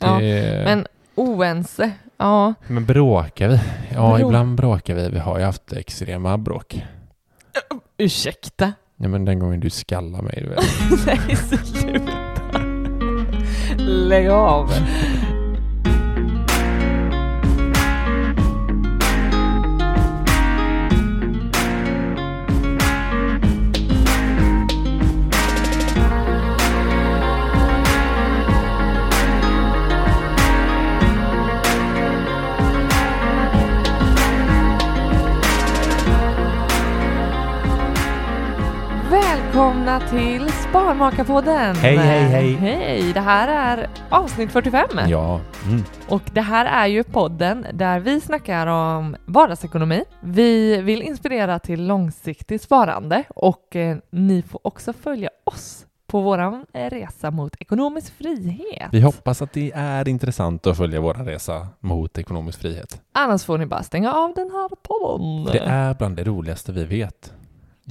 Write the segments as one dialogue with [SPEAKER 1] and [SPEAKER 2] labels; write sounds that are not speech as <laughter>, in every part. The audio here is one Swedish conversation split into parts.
[SPEAKER 1] Ja,
[SPEAKER 2] Det, men,
[SPEAKER 1] Men oense, ja.
[SPEAKER 2] bråkar vi? Ja,
[SPEAKER 1] Brå-
[SPEAKER 2] ibland bråkar vi. Vi har ju haft extrema bråk.
[SPEAKER 1] Ursäkta.
[SPEAKER 2] Nej, men den gången du skallar mig,
[SPEAKER 1] <laughs>
[SPEAKER 2] du vet.
[SPEAKER 1] Nej, sluta. Lägg av. Välkomna till Sparmakarpodden!
[SPEAKER 2] Hej, hej, hej.
[SPEAKER 1] Hej! Det här är avsnitt 45
[SPEAKER 2] Ja. Mm.
[SPEAKER 1] och det här är ju podden där vi snackar om vardagsekonomi. Vi vill inspirera till långsiktigt sparande och eh, ni får också följa oss på vår resa mot ekonomisk frihet.
[SPEAKER 2] Vi hoppas att det är intressant att följa vår resa mot ekonomisk frihet.
[SPEAKER 1] Annars får ni bara stänga av den här podden.
[SPEAKER 2] Det är bland det roligaste vi vet.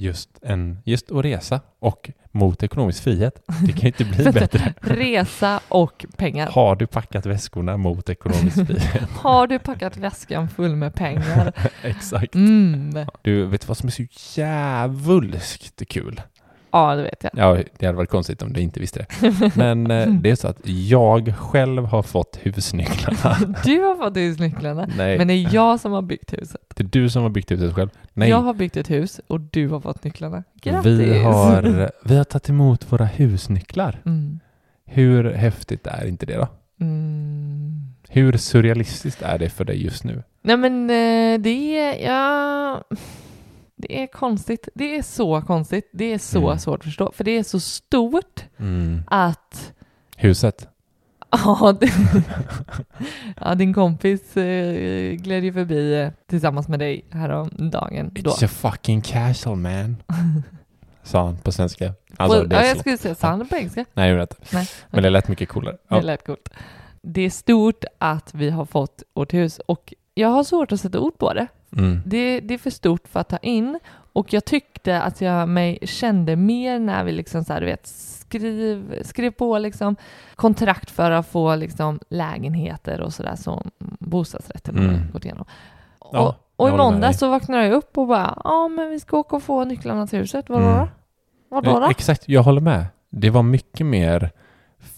[SPEAKER 2] Just, en, just att resa och mot ekonomisk frihet. Det kan ju
[SPEAKER 1] <laughs>
[SPEAKER 2] inte bli bättre.
[SPEAKER 1] Resa och pengar.
[SPEAKER 2] Har du packat väskorna mot ekonomisk
[SPEAKER 1] <laughs>
[SPEAKER 2] frihet? <laughs>
[SPEAKER 1] Har du packat väskan full med pengar?
[SPEAKER 2] Exakt.
[SPEAKER 1] Mm.
[SPEAKER 2] Du, vet du vad som är så jävulskt kul?
[SPEAKER 1] Ja, det vet jag.
[SPEAKER 2] Ja, det hade varit konstigt om du inte visste det. Men eh, det är så att jag själv har fått husnycklarna.
[SPEAKER 1] <laughs> Du har fått husnycklarna,
[SPEAKER 2] Nej,
[SPEAKER 1] men det är jag som har byggt huset.
[SPEAKER 2] det är du som har byggt huset själv. Nej,
[SPEAKER 1] Jag har byggt ett hus och du har fått nycklarna. Grattis!
[SPEAKER 2] vi har, vi har tagit emot våra husnycklar.
[SPEAKER 1] Mm.
[SPEAKER 2] Hur häftigt är inte det då?
[SPEAKER 1] Mm.
[SPEAKER 2] Hur surrealistiskt är det för dig just nu?
[SPEAKER 1] Nej men eh, det är... Ja, det är konstigt. Det är så konstigt. Det är så
[SPEAKER 2] Mm.
[SPEAKER 1] svårt att förstå. För det är så stort att... <laughs>
[SPEAKER 2] Huset?
[SPEAKER 1] Ja, det, ja, din kompis eh, gled ju förbi eh, tillsammans med dig häromdagen. Då.
[SPEAKER 2] It's a fucking castle
[SPEAKER 1] <laughs>
[SPEAKER 2] man. Sa han på svenska. Alltså,
[SPEAKER 1] Well,
[SPEAKER 2] det
[SPEAKER 1] ja,
[SPEAKER 2] är
[SPEAKER 1] jag
[SPEAKER 2] slott.
[SPEAKER 1] skulle säga sann på engelska.
[SPEAKER 2] Nej, jag vet inte.
[SPEAKER 1] Nej,
[SPEAKER 2] Men det lät mycket coolare.
[SPEAKER 1] Det
[SPEAKER 2] Ja.
[SPEAKER 1] lät coolt. Det är stort att vi har fått vårt hus och jag har svårt att sätta ord på det.
[SPEAKER 2] Mm.
[SPEAKER 1] Det, det är för stort för att ta in och jag tyckte att jag mig kände mer när vi liksom så här, du vet, skriv, skrev på liksom kontrakt för att få liksom lägenheter och sådär som bostadsrätten har
[SPEAKER 2] Mm.
[SPEAKER 1] gått igenom.
[SPEAKER 2] Ja,
[SPEAKER 1] och och
[SPEAKER 2] jag
[SPEAKER 1] i
[SPEAKER 2] håller med
[SPEAKER 1] måndag
[SPEAKER 2] dig.
[SPEAKER 1] så vaknade jag upp och bara, ja men vi ska åka och få nycklarna till huset, vadå
[SPEAKER 2] Mm. Eh,
[SPEAKER 1] då? Vadå då?
[SPEAKER 2] Exakt, jag håller med. Det var mycket mer,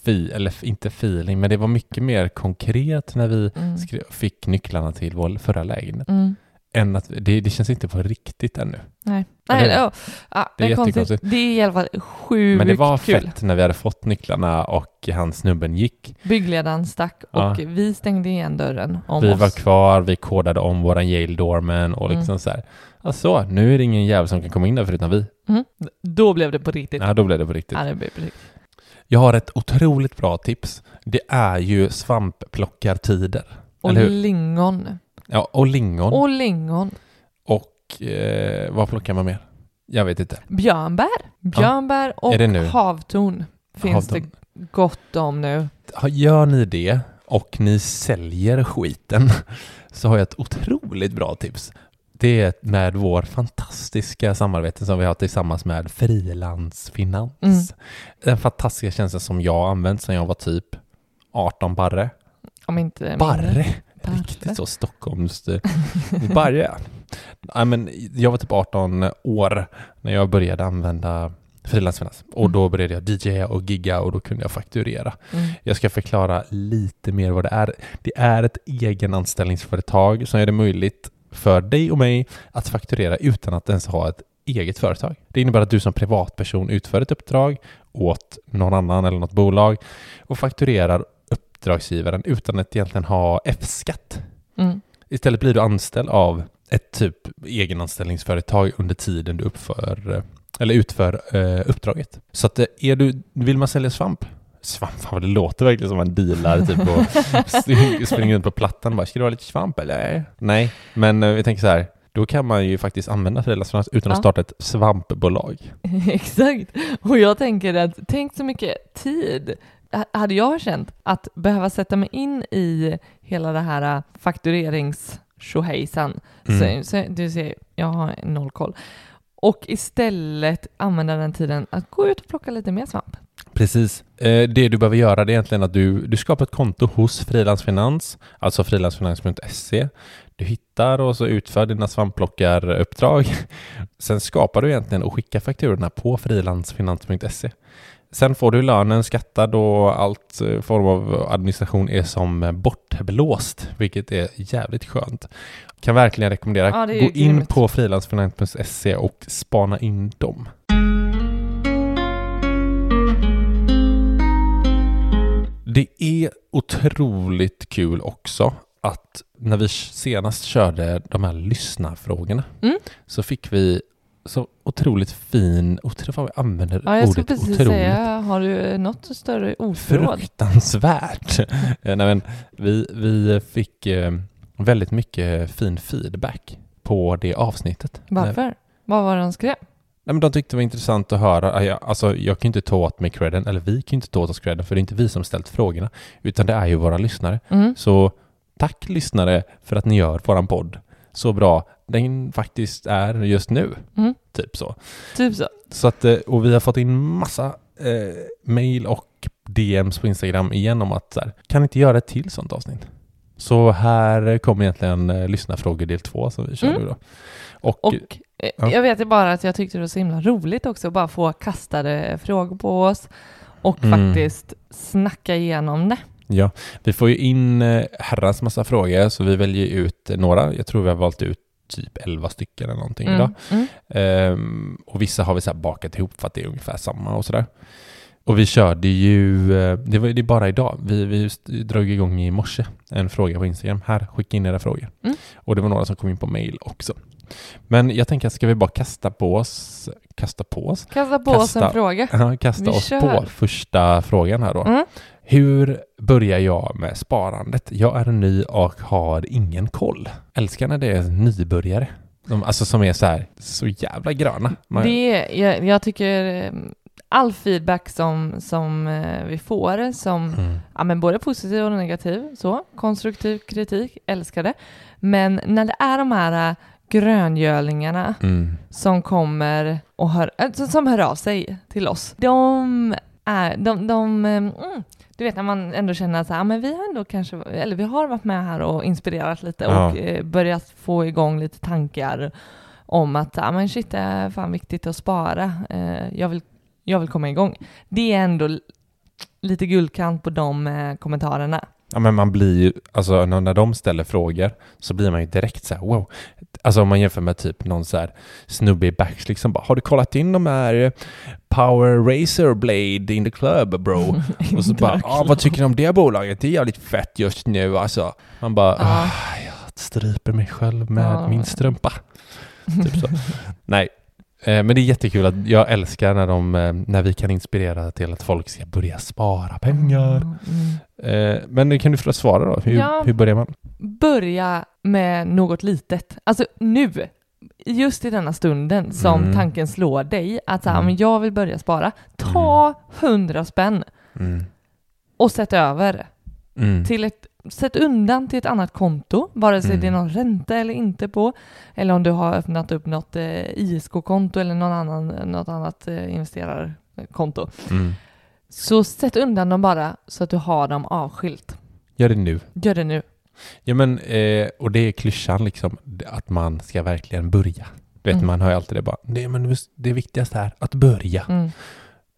[SPEAKER 2] fi, eller f- inte feeling, men det var mycket mer konkret när vi
[SPEAKER 1] Mm.
[SPEAKER 2] skrev, fick nycklarna till vår förra lägenhet.
[SPEAKER 1] Mm.
[SPEAKER 2] Än att det, det känns inte på riktigt ännu.
[SPEAKER 1] Nej,
[SPEAKER 2] Eller
[SPEAKER 1] Nej
[SPEAKER 2] hur?
[SPEAKER 1] ja, ja,
[SPEAKER 2] Det
[SPEAKER 1] det
[SPEAKER 2] är
[SPEAKER 1] är konstigt.
[SPEAKER 2] jättekonstigt.
[SPEAKER 1] Det är i alla fall sjukt
[SPEAKER 2] Men det var
[SPEAKER 1] kul.
[SPEAKER 2] fett när vi hade fått nycklarna och han snubben gick.
[SPEAKER 1] Byggledaren stack och
[SPEAKER 2] Ja.
[SPEAKER 1] vi stängde igen dörren om
[SPEAKER 2] vi
[SPEAKER 1] oss. Mm.
[SPEAKER 2] var kvar, vi kodade om våran Yale Doorman och liksom så här. Alltså, nu är det ingen jävel som kan komma in där förutom vi.
[SPEAKER 1] Mm. Då blev det på riktigt.
[SPEAKER 2] Nej, då blev det på riktigt.
[SPEAKER 1] Ja, det blev på riktigt.
[SPEAKER 2] Jag har ett otroligt bra tips. Det är ju svampplockartider.
[SPEAKER 1] Och
[SPEAKER 2] Eller hur?
[SPEAKER 1] lingon.
[SPEAKER 2] Ja, och lingon.
[SPEAKER 1] Och lingon.
[SPEAKER 2] Och eh, vad plockar man mer? Jag vet inte.
[SPEAKER 1] Björnbär. Björnbär och
[SPEAKER 2] Är det nu?
[SPEAKER 1] havtorn. finns
[SPEAKER 2] Har
[SPEAKER 1] det gott om nu.
[SPEAKER 2] Ja, Gör ni det och ni säljer skiten <laughs> så har jag ett otroligt bra tips. Det är med vår fantastiska samarbete som vi har tillsammans med Frilansfinans.
[SPEAKER 1] Mm.
[SPEAKER 2] Den fantastiska tjänsten som jag har använt sedan jag var typ 18 barre.
[SPEAKER 1] Om inte mindre.
[SPEAKER 2] Barre?
[SPEAKER 1] Eh, Barre.
[SPEAKER 2] Riktigt så Stockholms... eh, Barre. Nej, men jag var typ 18 år när jag började använda frilansfinans och då började jag DJa och gigga och då kunde jag fakturera.
[SPEAKER 1] Mm.
[SPEAKER 2] Jag ska förklara lite mer vad det är. Det är ett egenanställningsföretag som gör det möjligt för dig och mig att fakturera utan att ens ha ett eget företag. Det innebär att du som privatperson utför ett uppdrag åt någon annan eller något bolag och fakturerar uppdragsgivaren utan att egentligen ha F-skatt.
[SPEAKER 1] Mm.
[SPEAKER 2] Istället blir du anställd av ett typ egenanställningsföretag under tiden du uppför, eh, eller utför eh, uppdraget. Så att eh, är du, vill man sälja svamp? Svamp, fan vad det låter verkligen som man dealar typ och sp- springer runt på plattan och bara ska du ha lite svamp eller? Nej, men eh, vi tänker så här, då kan man ju faktiskt använda frilansfinans utan att
[SPEAKER 1] Ja.
[SPEAKER 2] starta ett svampbolag.
[SPEAKER 1] <laughs> Exakt. Och jag tänker att tänk så mycket tid H- hade jag känt att behöva sätta mig in i hela det här äh, fakturerings tjohejsan.
[SPEAKER 2] Mm.
[SPEAKER 1] Så, så, du ser, jag har noll koll. Och istället använda den tiden att gå ut och plocka lite mer svamp.
[SPEAKER 2] Precis. Eh, Det du behöver göra det är egentligen att du, du skapar ett konto hos Frilansfinans, alltså frilansfinans.se. Du hittar och så utför dina svampplockaruppdrag. Sen skapar du egentligen och skickar fakturorna på frilansfinans.se. Sen får du lönen skattad och allt eh, form av administration är som eh, bortblåst, vilket är jävligt skönt. Kan verkligen rekommendera.
[SPEAKER 1] Ja, det är ju
[SPEAKER 2] Gå in
[SPEAKER 1] grymt.
[SPEAKER 2] på frilansfinans.se och spana in dem. Det är otroligt kul också att när vi senast körde de här lyssnarfrågorna
[SPEAKER 1] Mm.
[SPEAKER 2] så fick vi så otroligt fin, otroligt, fan, vi använder
[SPEAKER 1] Ja, jag skulle
[SPEAKER 2] ordet
[SPEAKER 1] precis
[SPEAKER 2] otroligt.
[SPEAKER 1] säga, har du något större ordförråd?
[SPEAKER 2] Fruktansvärt! <laughs> Eh, Nej, men vi, vi fick eh, väldigt mycket fin feedback på det avsnittet.
[SPEAKER 1] Varför? Vad var det de skrev?
[SPEAKER 2] Nej, men de tyckte det var intressant att höra. Ah, ja, Alltså, jag kan ju inte ta åt mig credden, eller vi kan ju inte ta åt oss credden, för det är inte vi som ställt frågorna, utan det är ju våra lyssnare.
[SPEAKER 1] Mm.
[SPEAKER 2] Så tack lyssnare för att ni gör våran podd så bra den faktiskt är just nu.
[SPEAKER 1] Mm.
[SPEAKER 2] Typ så.
[SPEAKER 1] Typ så.
[SPEAKER 2] så att, eh, och vi har fått in massa eh, mail och DMs på Instagram igen om att så här, kan ni inte göra ett till sånt avsnitt? Så här kommer egentligen eh, lyssnarfrågor del två som vi kör
[SPEAKER 1] Mm.
[SPEAKER 2] nu då. Och,
[SPEAKER 1] Och eh,
[SPEAKER 2] ja.
[SPEAKER 1] jag vet ju bara att jag tyckte det var så himla roligt också att bara få kastade frågor på oss och
[SPEAKER 2] Mm.
[SPEAKER 1] faktiskt snacka igenom det.
[SPEAKER 2] ja, vi får ju in eh, herrans massa frågor så vi väljer ut eh, några. Jag tror vi har valt ut typ 11 stycken eller någonting idag.
[SPEAKER 1] Mm. Mm.
[SPEAKER 2] Ehm, och vissa har vi så här bakat ihop för att det är ungefär samma och sådär. Och vi körde ju, eh, det var ju det är bara idag, vi, vi just drog igång i morse en fråga på Instagram. Här, skicka in era frågor.
[SPEAKER 1] Mm.
[SPEAKER 2] Och det var några som kom in på mail också. Men jag tänker, ska vi bara kasta på oss, kasta på oss?
[SPEAKER 1] Kasta på oss
[SPEAKER 2] Kasta.
[SPEAKER 1] en fråga.
[SPEAKER 2] Ja, kasta
[SPEAKER 1] Vi
[SPEAKER 2] oss
[SPEAKER 1] kör.
[SPEAKER 2] på första frågan här då.
[SPEAKER 1] Mm.
[SPEAKER 2] Hur börjar jag med sparandet? Jag är ny och har ingen koll. Älskar när det är nybörjare. De, alltså som är så här, så jävla gröna. Man-
[SPEAKER 1] Det, jag, jag tycker eh, all feedback som, som eh, vi får, som
[SPEAKER 2] Mm.
[SPEAKER 1] ja, men både positiv och negativ, så, konstruktiv kritik, älskar det. Men när det är de här eh, gröngölingarna
[SPEAKER 2] Mm.
[SPEAKER 1] som kommer och hör, äh, som- som hör av sig till oss. De är, de, de, eh, mm, du vet när man ändå känner så här, "Ah, men vi har ändå kanske, eller vi har varit med här och inspirerat lite
[SPEAKER 2] Ja.
[SPEAKER 1] och eh, börjat få igång lite tankar om att, ja men shit det är fan viktigt att spara, Eh, jag vill, jag vill komma igång. Det är ändå l- lite guldkant på de eh, kommentarerna.
[SPEAKER 2] Ja, men man blir ju, alltså när när de ställer frågor så blir man ju direkt så här wow. Alltså om man jämför med typ någon så här snubbe i backs liksom bara, har du kollat in de här eh, Power Racer Blade in the club
[SPEAKER 1] <laughs>
[SPEAKER 2] bro? Och så bara, ah, vad tycker du om det bolaget? Det är jävligt fett just nu alltså. Man bara,
[SPEAKER 1] Ja.
[SPEAKER 2] ah, jag stryper mig själv med
[SPEAKER 1] Ja.
[SPEAKER 2] min
[SPEAKER 1] <laughs>
[SPEAKER 2] strumpa. Typ så. Nej, eh, men det är jättekul att jag älskar när, de, eh, när vi kan inspirera till att folk ska börja spara pengar.
[SPEAKER 1] Mm.
[SPEAKER 2] Eh, men kan du få svara då? Hur,
[SPEAKER 1] Ja.
[SPEAKER 2] hur börjar man?
[SPEAKER 1] börja med något litet. Alltså nu! just i denna stunden som
[SPEAKER 2] Mm.
[SPEAKER 1] tanken slår dig att så här,
[SPEAKER 2] Mm.
[SPEAKER 1] men jag vill börja spara, ta 100 spänn
[SPEAKER 2] Mm.
[SPEAKER 1] och sätt över
[SPEAKER 2] Mm.
[SPEAKER 1] till ett, sätt undan till ett annat konto, vare sig
[SPEAKER 2] Mm.
[SPEAKER 1] det är någon ränta eller inte på, eller om du har öppnat upp något eh, ISK-konto eller någon annan, något annat eh, investerarkonto.
[SPEAKER 2] Mm.
[SPEAKER 1] Så sätt undan dem bara så att du har dem avskilt.
[SPEAKER 2] Gör det nu.
[SPEAKER 1] Gör det nu.
[SPEAKER 2] Ja, men, eh, och det är klyschan liksom, att man ska verkligen börja. Du vet,
[SPEAKER 1] Mm.
[SPEAKER 2] man hör ju alltid det bara, nej men det viktigaste är att börja.
[SPEAKER 1] Mm.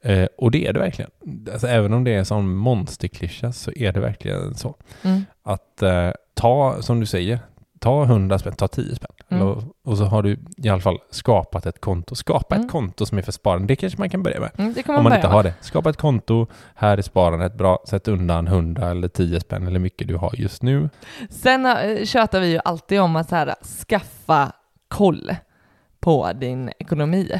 [SPEAKER 2] Eh, och det är det verkligen. Alltså, även om det är en sån monsterklyscha så är det verkligen så.
[SPEAKER 1] Mm.
[SPEAKER 2] Att eh, ta, som du säger, ta 100 spänn, ta 10 spänn.
[SPEAKER 1] Mm.
[SPEAKER 2] Eller, och så har du i alla fall skapat ett konto. Skapa
[SPEAKER 1] Mm.
[SPEAKER 2] ett konto som är för sparande. Det kanske man kan börja med.
[SPEAKER 1] Mm. Det kan
[SPEAKER 2] Om
[SPEAKER 1] man,
[SPEAKER 2] man
[SPEAKER 1] börja
[SPEAKER 2] inte
[SPEAKER 1] med.
[SPEAKER 2] har det. Skapa ett konto. Här är sparandet bra. Sätt undan 100 eller 10 spänn eller hur mycket du har just nu.
[SPEAKER 1] Sen eh, tjatar vi ju alltid om att så här, skaffa koll på din ekonomi.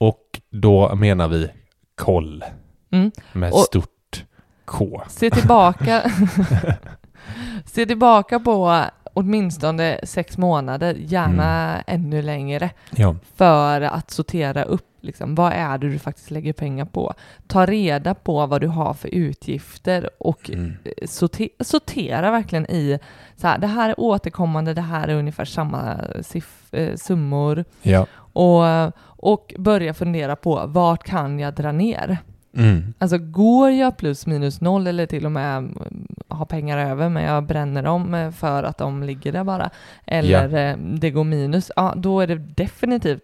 [SPEAKER 2] Och då menar vi koll
[SPEAKER 1] Mm.
[SPEAKER 2] med
[SPEAKER 1] Och-
[SPEAKER 2] stort K.
[SPEAKER 1] Se tillbaka, se tillbaka på åtminstone sex månader, gärna ännu längre,
[SPEAKER 2] Ja.
[SPEAKER 1] för att sortera upp liksom, vad är det du faktiskt lägger pengar på. Ta reda på vad du har för utgifter och
[SPEAKER 2] Mm.
[SPEAKER 1] eh, sorte- sortera verkligen i så här, det här är återkommande, det här är ungefär samma siff- eh, summor.
[SPEAKER 2] Ja.
[SPEAKER 1] och, och börja fundera på vart kan jag dra ner?
[SPEAKER 2] Mm.
[SPEAKER 1] Alltså går jag plus minus noll eller till och med mm, har pengar över men jag bränner dem eh, för att de ligger där bara eller eh, det går minus, ja då är det definitivt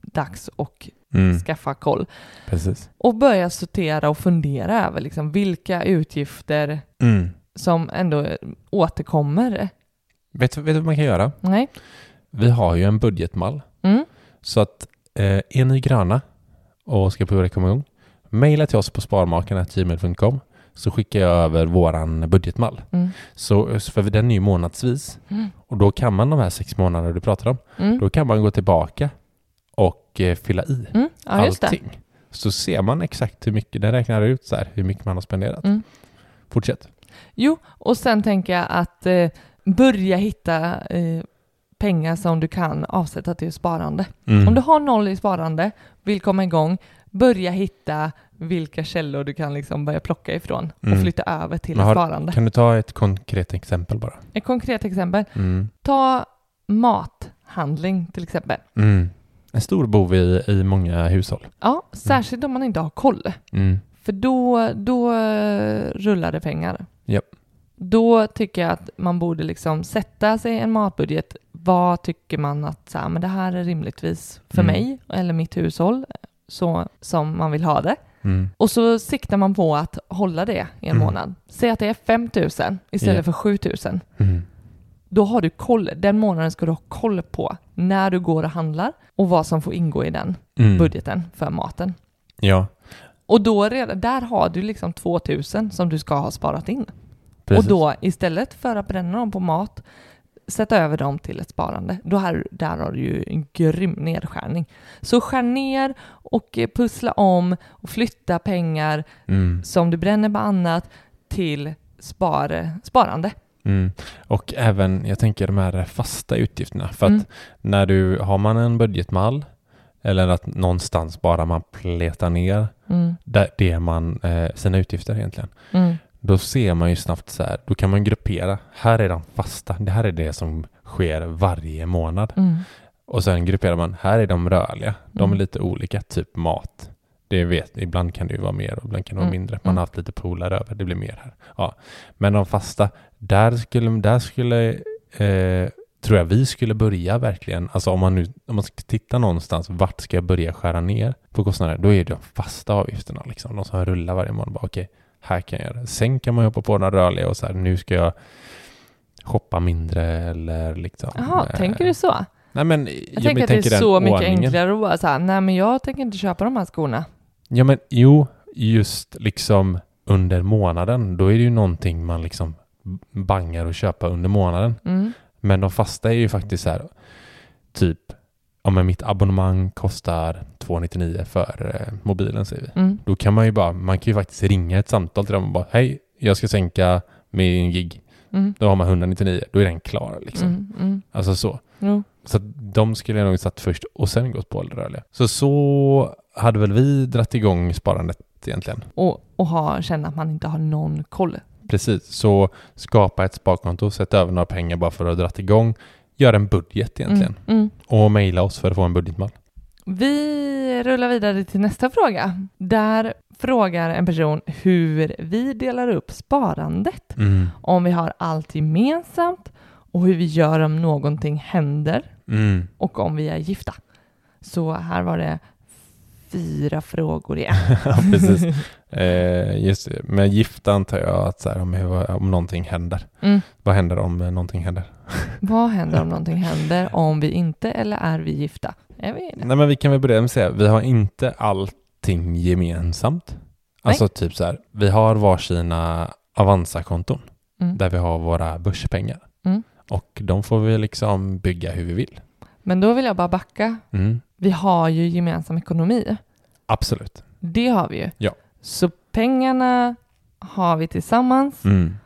[SPEAKER 1] dags att
[SPEAKER 2] Mm.
[SPEAKER 1] skaffa koll
[SPEAKER 2] Precis.
[SPEAKER 1] och börja sortera och fundera över liksom, vilka utgifter
[SPEAKER 2] Mm.
[SPEAKER 1] som ändå återkommer.
[SPEAKER 2] Vet, vet du vad man kan göra?
[SPEAKER 1] Nej?
[SPEAKER 2] Vi har ju en budgetmall.
[SPEAKER 1] Mm?
[SPEAKER 2] Så att eh, är ni gröna och ska på komma igång, mejla till oss på sparmakarna.gmail.com så skickar jag över våran budgetmall.
[SPEAKER 1] Mm.
[SPEAKER 2] Så, så- för den är ju månadsvis
[SPEAKER 1] Mm.
[SPEAKER 2] och då kan man de här sex månaderna du pratar om,
[SPEAKER 1] Mm.
[SPEAKER 2] då kan man gå tillbaka och eh, fylla i
[SPEAKER 1] Mm. Ja, just det.
[SPEAKER 2] allting. Så ser man exakt hur mycket, den räknar ut så här, hur mycket man har spenderat.
[SPEAKER 1] Mm.
[SPEAKER 2] Fortsätt.
[SPEAKER 1] Jo, och sen tänker jag att eh, börja hitta eh, pengar som du kan avsätta till sparande.
[SPEAKER 2] Mm.
[SPEAKER 1] Om du har noll i sparande, vill komma igång, börja hitta vilka källor du kan liksom börja plocka ifrån och
[SPEAKER 2] Mm.
[SPEAKER 1] flytta över till
[SPEAKER 2] Men har-
[SPEAKER 1] sparande.
[SPEAKER 2] Kan du ta ett konkret exempel bara?
[SPEAKER 1] Ett konkret exempel,
[SPEAKER 2] Mm.
[SPEAKER 1] ta mathandling till exempel.
[SPEAKER 2] Mm. En stor bov i, i många hushåll.
[SPEAKER 1] Ja, särskilt om man inte har koll.
[SPEAKER 2] Mm.
[SPEAKER 1] För då, då eh, rullar det pengar.
[SPEAKER 2] Japp.
[SPEAKER 1] Då tycker jag att man borde liksom sätta sig en matbudget. Vad tycker man att så här, men det här är rimligtvis för
[SPEAKER 2] Mm.
[SPEAKER 1] mig eller mitt hushåll så som man vill ha det.
[SPEAKER 2] Mm.
[SPEAKER 1] Och så siktar man på att hålla det i en
[SPEAKER 2] Mm.
[SPEAKER 1] månad. Säg att det är 5 000 istället
[SPEAKER 2] Ja.
[SPEAKER 1] för 7 000.
[SPEAKER 2] Mm.
[SPEAKER 1] Då har du koll. Den månaden ska du ha koll på när du går och handlar och vad som får ingå i den
[SPEAKER 2] Mm.
[SPEAKER 1] budgeten för maten.
[SPEAKER 2] Ja,
[SPEAKER 1] Och då redan, där har du liksom 2000 som du ska ha sparat in.
[SPEAKER 2] precis.
[SPEAKER 1] Och då istället för att bränna dem på mat, sätta över dem till ett sparande. Då här, där har du ju en grym nedskärning. Så skär ner och eh, pussla om och flytta pengar
[SPEAKER 2] Mm.
[SPEAKER 1] som du bränner på annat till spar, sparande.
[SPEAKER 2] Mm. Och även, jag tänker de här fasta utgifterna. För att
[SPEAKER 1] Mm.
[SPEAKER 2] när du, har man en budgetmall eller att någonstans bara man pletar ner
[SPEAKER 1] Mm,
[SPEAKER 2] där, det man, eh, sina utgifter egentligen.
[SPEAKER 1] mm,
[SPEAKER 2] Då ser man ju snabbt så här, då kan man gruppera. Här är de fasta, det här är det som sker varje månad.
[SPEAKER 1] mm,
[SPEAKER 2] Och sen grupperar man, här är de rörliga. De
[SPEAKER 1] Mm.
[SPEAKER 2] är lite olika, typ mat. Det vet, ibland kan det ju vara mer och ibland kan det vara
[SPEAKER 1] Mm,
[SPEAKER 2] mindre. Man
[SPEAKER 1] mm.
[SPEAKER 2] har haft lite polar över, det blir mer här. Ja. Men de fasta, där skulle, där skulle eh, tror jag vi skulle börja verkligen. Alltså om man nu om man ska titta någonstans, vart ska jag börja skära ner på kostnader? Då är det de fasta avgifterna, liksom. de som rullar varje månad. Bara, okej, här kan jag göra det. Sen kan man ju hoppa på den rörliga och så här, nu ska jag shoppa mindre eller liksom.
[SPEAKER 1] Jaha,
[SPEAKER 2] eh,
[SPEAKER 1] tänker du så?
[SPEAKER 2] Nej, men,
[SPEAKER 1] Jag tänker att det är
[SPEAKER 2] den
[SPEAKER 1] så mycket
[SPEAKER 2] ordningen.
[SPEAKER 1] enklare att bara så här, nej men jag tänker inte köpa de här skorna.
[SPEAKER 2] Ja, men jo, just liksom under månaden, då är det ju någonting man liksom bangar och köpa under månaden.
[SPEAKER 1] Mm,
[SPEAKER 2] Men de fasta är ju faktiskt så här, typ, ja men mitt abonnemang kostar 299 för eh, mobilen säger vi.
[SPEAKER 1] mm,
[SPEAKER 2] Då kan man ju bara, man kan ju faktiskt ringa ett samtal till dem och bara, hej, jag ska sänka min gig.
[SPEAKER 1] mm,
[SPEAKER 2] Då har man 199, då är den klar liksom.
[SPEAKER 1] mm, mm,
[SPEAKER 2] Alltså så.
[SPEAKER 1] jo.
[SPEAKER 2] Så att de skulle jag nog satt först och sen gått på ålderrörliga. Så så hade väl vi dratt igång sparandet egentligen.
[SPEAKER 1] Och, och ha, känna att man inte har någon koll.
[SPEAKER 2] Precis, så skapa ett sparkonto, sätta över några pengar bara för att ha dratt igång. Gör en budget egentligen.
[SPEAKER 1] Mm, mm.
[SPEAKER 2] Och mejla oss för att få en budgetmall.
[SPEAKER 1] Vi rullar vidare till nästa fråga. Där frågar en person hur vi delar upp sparandet.
[SPEAKER 2] Mm.
[SPEAKER 1] Om vi har allt gemensamt och hur vi gör om någonting händer
[SPEAKER 2] Mm.
[SPEAKER 1] och om vi är gifta. Så här var det fyra frågor igen.
[SPEAKER 2] <laughs> ja,
[SPEAKER 1] <laughs>
[SPEAKER 2] precis. Eh, just det. Med gifta antar jag att så här, om, hur- om någonting händer.
[SPEAKER 1] Mm.
[SPEAKER 2] Vad händer om eh, någonting händer?
[SPEAKER 1] Vad händer om någonting händer om vi inte eller är vi gifta? Är vi det?
[SPEAKER 2] Nej, men vi kan väl börja med att säga vi har inte allting gemensamt. Alltså typ så här, vi har varsina Avanza-konton
[SPEAKER 1] Mm.
[SPEAKER 2] där vi har våra börspengar.
[SPEAKER 1] Mm.
[SPEAKER 2] Och de får vi liksom bygga hur vi vill.
[SPEAKER 1] Men då vill jag bara backa.
[SPEAKER 2] Mm.
[SPEAKER 1] Vi har ju gemensam ekonomi.
[SPEAKER 2] Absolut.
[SPEAKER 1] Det har vi ju.
[SPEAKER 2] Ja.
[SPEAKER 1] Så pengarna har vi tillsammans
[SPEAKER 2] Mm.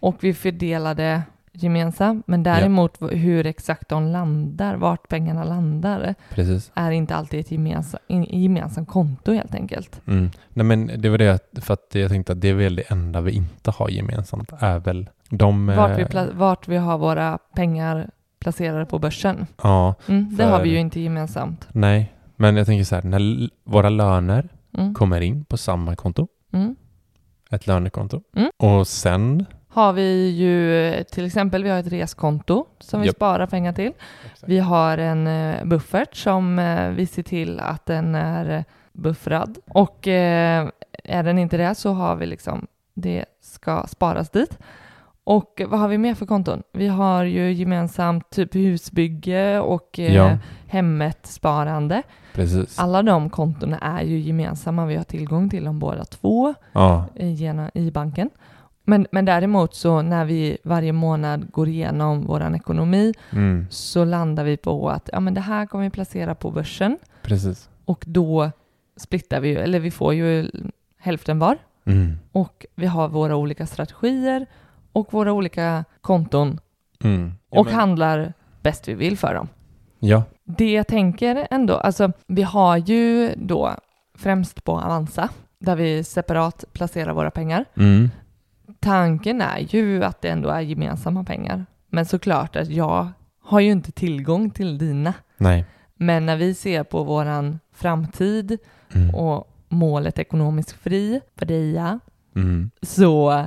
[SPEAKER 1] och vi fördelar det gemensamt. Men däremot v- hur exakt de landar, vart pengarna landar,
[SPEAKER 2] Precis.
[SPEAKER 1] är inte alltid ett gemensamt gemensam konto helt enkelt.
[SPEAKER 2] Mm. Nej, men det var det att- för att jag tänkte att det är väl det enda vi inte har gemensamt är väl de...
[SPEAKER 1] Vart vi,
[SPEAKER 2] eh,
[SPEAKER 1] pla- vart vi har våra pengar placerade på börsen.
[SPEAKER 2] Ja,
[SPEAKER 1] Mm, det
[SPEAKER 2] För-
[SPEAKER 1] har vi ju inte gemensamt.
[SPEAKER 2] nej. Men jag tänker så här, när l- våra löner
[SPEAKER 1] Mm,
[SPEAKER 2] kommer in på samma konto,
[SPEAKER 1] mm.
[SPEAKER 2] ett lönekonto,
[SPEAKER 1] Mm.
[SPEAKER 2] och sen
[SPEAKER 1] har vi ju till exempel vi har ett reskonto som vi
[SPEAKER 2] Japp.
[SPEAKER 1] sparar pengar till. Vi har en eh, buffert som eh, vi ser till att den är eh, buffrad. Och eh, är den inte det så har vi liksom, det ska sparas dit. Och eh, vad har vi mer för konton? Vi har ju gemensamt typ husbygge och eh,
[SPEAKER 2] Ja.
[SPEAKER 1] hemmet sparande.
[SPEAKER 2] Precis.
[SPEAKER 1] Alla de kontona är ju gemensamma. Vi har tillgång till dem båda två
[SPEAKER 2] Ja,
[SPEAKER 1] eh, gena- i banken. Men, men däremot så när vi varje månad går igenom vår ekonomi
[SPEAKER 2] mm,
[SPEAKER 1] så landar vi på att ja, men det här kommer vi placera på börsen
[SPEAKER 2] precis.
[SPEAKER 1] och då splittar vi ju, eller vi får ju hälften var
[SPEAKER 2] Mm,
[SPEAKER 1] och vi har våra olika strategier och våra olika konton
[SPEAKER 2] mm.
[SPEAKER 1] och handlar bäst vi vill för dem.
[SPEAKER 2] Ja,
[SPEAKER 1] Det jag tänker ändå, alltså vi har ju då främst på Avanza där vi separat placerar våra pengar.
[SPEAKER 2] mm,
[SPEAKER 1] Tanken är ju att det ändå är gemensamma pengar. Men såklart att jag har ju inte tillgång till dina.
[SPEAKER 2] nej.
[SPEAKER 1] Men när vi ser på våran framtid
[SPEAKER 2] Mm,
[SPEAKER 1] och målet ekonomisk fri för Deja
[SPEAKER 2] mm,
[SPEAKER 1] så,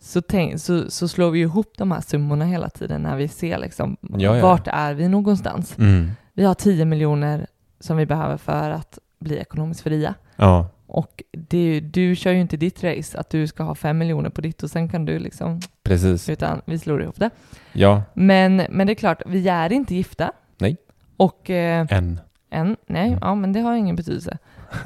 [SPEAKER 1] så, tänk, så, så slår vi ihop de här summorna hela tiden när vi ser liksom
[SPEAKER 2] Ja, ja, ja.
[SPEAKER 1] vart är vi någonstans.
[SPEAKER 2] mm.
[SPEAKER 1] Vi har 10 miljoner som vi behöver för att bli ekonomiskt fria.
[SPEAKER 2] Ja,
[SPEAKER 1] Och det, är ju- du kör ju inte ditt race att du ska ha 5 miljoner på ditt och sen kan du liksom,
[SPEAKER 2] precis.
[SPEAKER 1] utan vi slår ihop det.
[SPEAKER 2] Ja,
[SPEAKER 1] Men, men det är klart, vi är inte gifta.
[SPEAKER 2] Nej.
[SPEAKER 1] Och eh,
[SPEAKER 2] en.
[SPEAKER 1] än, nej, ja men det har ingen betydelse.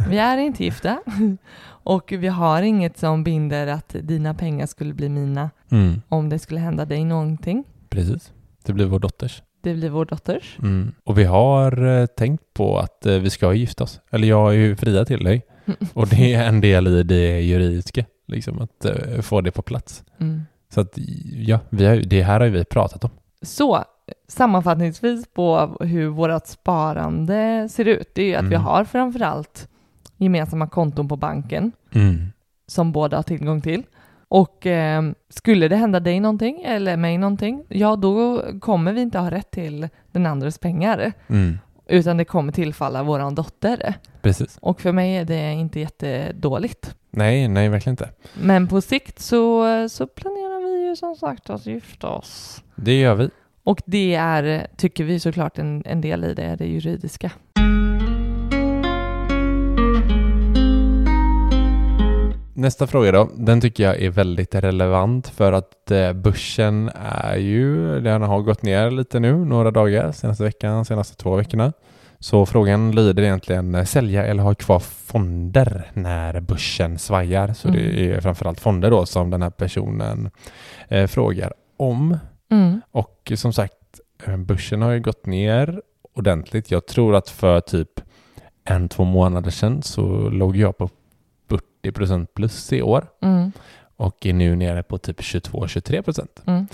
[SPEAKER 1] Vi är inte gifta. <laughs> Och vi har inget som binder att dina pengar skulle bli mina
[SPEAKER 2] Mm,
[SPEAKER 1] om det skulle hända dig någonting.
[SPEAKER 2] precis. Det blir vår dotters.
[SPEAKER 1] Det blir vår dotters.
[SPEAKER 2] Mm. Och vi har eh, tänkt på att eh, vi ska ju gifta oss. Eller jag är ju fria till dig. Och det är en del i det juridiska, liksom att eh, få det på plats.
[SPEAKER 1] Mm.
[SPEAKER 2] Så att ja, vi har, ju- det här har ju vi pratat om.
[SPEAKER 1] Så sammanfattningsvis på hur vårt sparande ser ut, det är ju att vi
[SPEAKER 2] Mm.
[SPEAKER 1] har framförallt gemensamma konton på banken
[SPEAKER 2] Mm.
[SPEAKER 1] som båda har tillgång till. Och eh, skulle det hända dig någonting eller mig någonting, ja då kommer vi inte ha rätt till den andres pengar,
[SPEAKER 2] Mm.
[SPEAKER 1] utan det kommer tillfalla våran dotter.
[SPEAKER 2] Precis.
[SPEAKER 1] Och för mig är det inte jättedåligt.
[SPEAKER 2] Nej, nej, verkligen inte.
[SPEAKER 1] Men på sikt så, så planerar vi ju som sagt att gifta oss.
[SPEAKER 2] Det gör vi.
[SPEAKER 1] Och det är, tycker vi såklart, en, en del i det, det juridiska.
[SPEAKER 2] Nästa fråga då, den tycker jag är väldigt relevant för att eh, börsen är ju, den har gått ner lite nu några dagar, senaste veckan, senaste två veckorna. Så frågan lyder egentligen eh, sälja eller ha kvar fonder när börsen svajar. Så det
[SPEAKER 1] Mm.
[SPEAKER 2] är framförallt fonder då som den här personen eh, frågar om.
[SPEAKER 1] Mm.
[SPEAKER 2] Och som sagt, eh, börsen har ju gått ner ordentligt. Jag tror att för typ en, två månader sedan så låg jag på 40% plus i år
[SPEAKER 1] Mm.
[SPEAKER 2] och är nu nere på typ 22-23%.
[SPEAKER 1] Mm.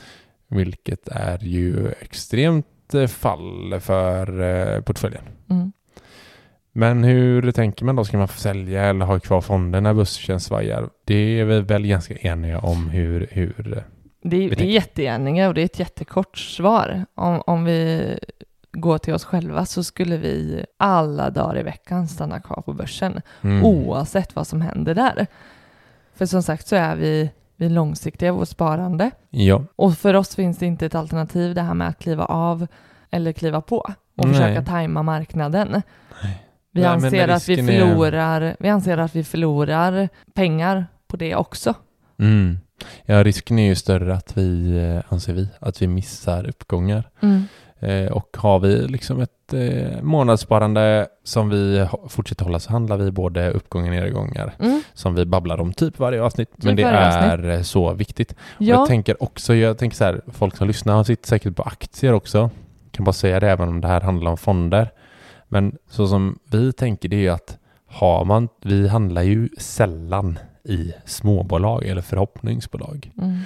[SPEAKER 2] Vilket är ju extremt eh, fall för eh, portföljen.
[SPEAKER 1] Mm.
[SPEAKER 2] Men hur tänker man då? Ska man sälja eller ha kvar fonden när börsen svajar? Det är vi väl ganska eniga om hur... hur eh,
[SPEAKER 1] Det är, det är
[SPEAKER 2] tänker-
[SPEAKER 1] jättegärningar och det är ett jättekort svar. Om, om vi går till oss själva så skulle vi alla dagar i veckan stanna kvar på börsen
[SPEAKER 2] mm.
[SPEAKER 1] Oh. oavsett vad som händer där. För som sagt så är vi, vi är långsiktiga i vårt sparande
[SPEAKER 2] Ja.
[SPEAKER 1] och för oss finns det inte ett alternativ det här med att kliva av eller kliva på och
[SPEAKER 2] Nej.
[SPEAKER 1] försöka tajma marknaden. Vi
[SPEAKER 2] Nej, men
[SPEAKER 1] anser, att vi,
[SPEAKER 2] risken är-
[SPEAKER 1] förlorar, vi anser att vi förlorar pengar på det också.
[SPEAKER 2] Mm. Ja, risken är ju större att vi, eh, anser vi, att vi missar uppgångar. Eh, och har vi liksom ett eh, månadssparande som vi ho- fortsätter hålla så handlar vi både uppgångar och nedgångar
[SPEAKER 1] Mm.
[SPEAKER 2] som vi babblar om typ varje avsnitt. Men
[SPEAKER 1] Typ
[SPEAKER 2] det
[SPEAKER 1] varje
[SPEAKER 2] är
[SPEAKER 1] avsnitt.
[SPEAKER 2] eh, så viktigt. Och
[SPEAKER 1] Ja.
[SPEAKER 2] Jag tänker också, jag tänker så här, folk som lyssnar har sitter säkert på aktier också. Jag kan bara säga det även om det här handlar om fonder. Men så som vi tänker det är ju att har man, vi handlar ju sällan i småbolag eller förhoppningsbolag.
[SPEAKER 1] Mm.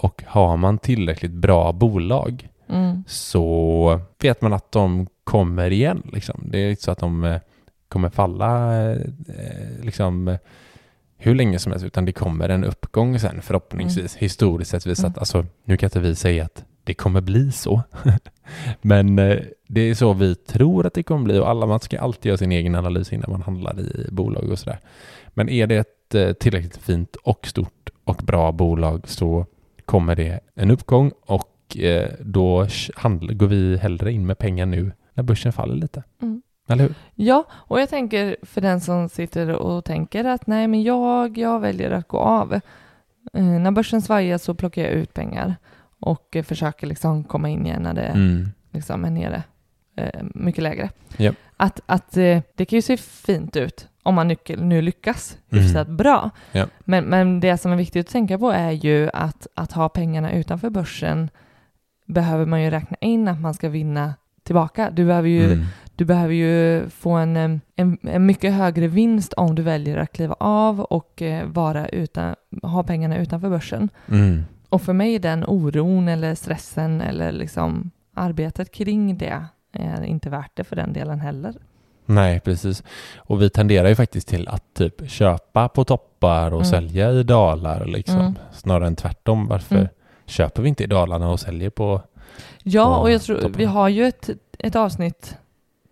[SPEAKER 2] Och har man tillräckligt bra bolag
[SPEAKER 1] Mm.
[SPEAKER 2] så vet man att de kommer igen. Liksom. Det är inte så att de eh, kommer falla eh, eh, liksom, eh, hur länge som helst, utan det kommer en uppgång sen förhoppningsvis. Historiskt sett visat.
[SPEAKER 1] Mm.
[SPEAKER 2] Alltså, nu kan inte vi säga att det kommer bli så. <laughs> Men eh, det är så vi tror att det kommer bli och alla, man ska alltid göra sin egen analys innan man handlar i bolag och sådär. Men är det ett eh, tillräckligt fint och stort och bra bolag så kommer det en uppgång och eh, då sh- handl- går vi hellre in med pengar nu när börsen faller lite.
[SPEAKER 1] Mm.
[SPEAKER 2] Eller hur?
[SPEAKER 1] Ja, och jag tänker för den som sitter och tänker att nej, men jag, jag väljer att gå av. Eh, när börsen svajar så plockar jag ut pengar och eh, försöker liksom komma in igen när det
[SPEAKER 2] Mm.
[SPEAKER 1] liksom är nere eh, mycket lägre.
[SPEAKER 2] Japp.
[SPEAKER 1] Att, att eh, det kan ju se fint ut om man nyckel, nu lyckas hyfsat bra.
[SPEAKER 2] Mm. Ja.
[SPEAKER 1] Men, men det som är viktigt att tänka på är ju att, att ha pengarna utanför börsen behöver man ju räkna in att man ska vinna tillbaka. Du behöver ju
[SPEAKER 2] Mm.
[SPEAKER 1] du behöver ju få en, em, en, en mycket högre vinst om du väljer att kliva av och eh, vara utan, ha pengarna utanför börsen.
[SPEAKER 2] Mm.
[SPEAKER 1] Och för mig är den oron eller stressen eller liksom arbetet kring det är inte värt det för den delen heller.
[SPEAKER 2] Nej, precis. Och vi tenderar ju faktiskt till att typ köpa på toppar och
[SPEAKER 1] Mm.
[SPEAKER 2] sälja i dalar liksom.
[SPEAKER 1] Mm.
[SPEAKER 2] Snarare än tvärtom. Varför
[SPEAKER 1] Mm.
[SPEAKER 2] köper vi inte i dalarna och säljer på...
[SPEAKER 1] Ja,
[SPEAKER 2] Ja,
[SPEAKER 1] och jag tror,
[SPEAKER 2] toppen.
[SPEAKER 1] vi har ju ett, ett avsnitt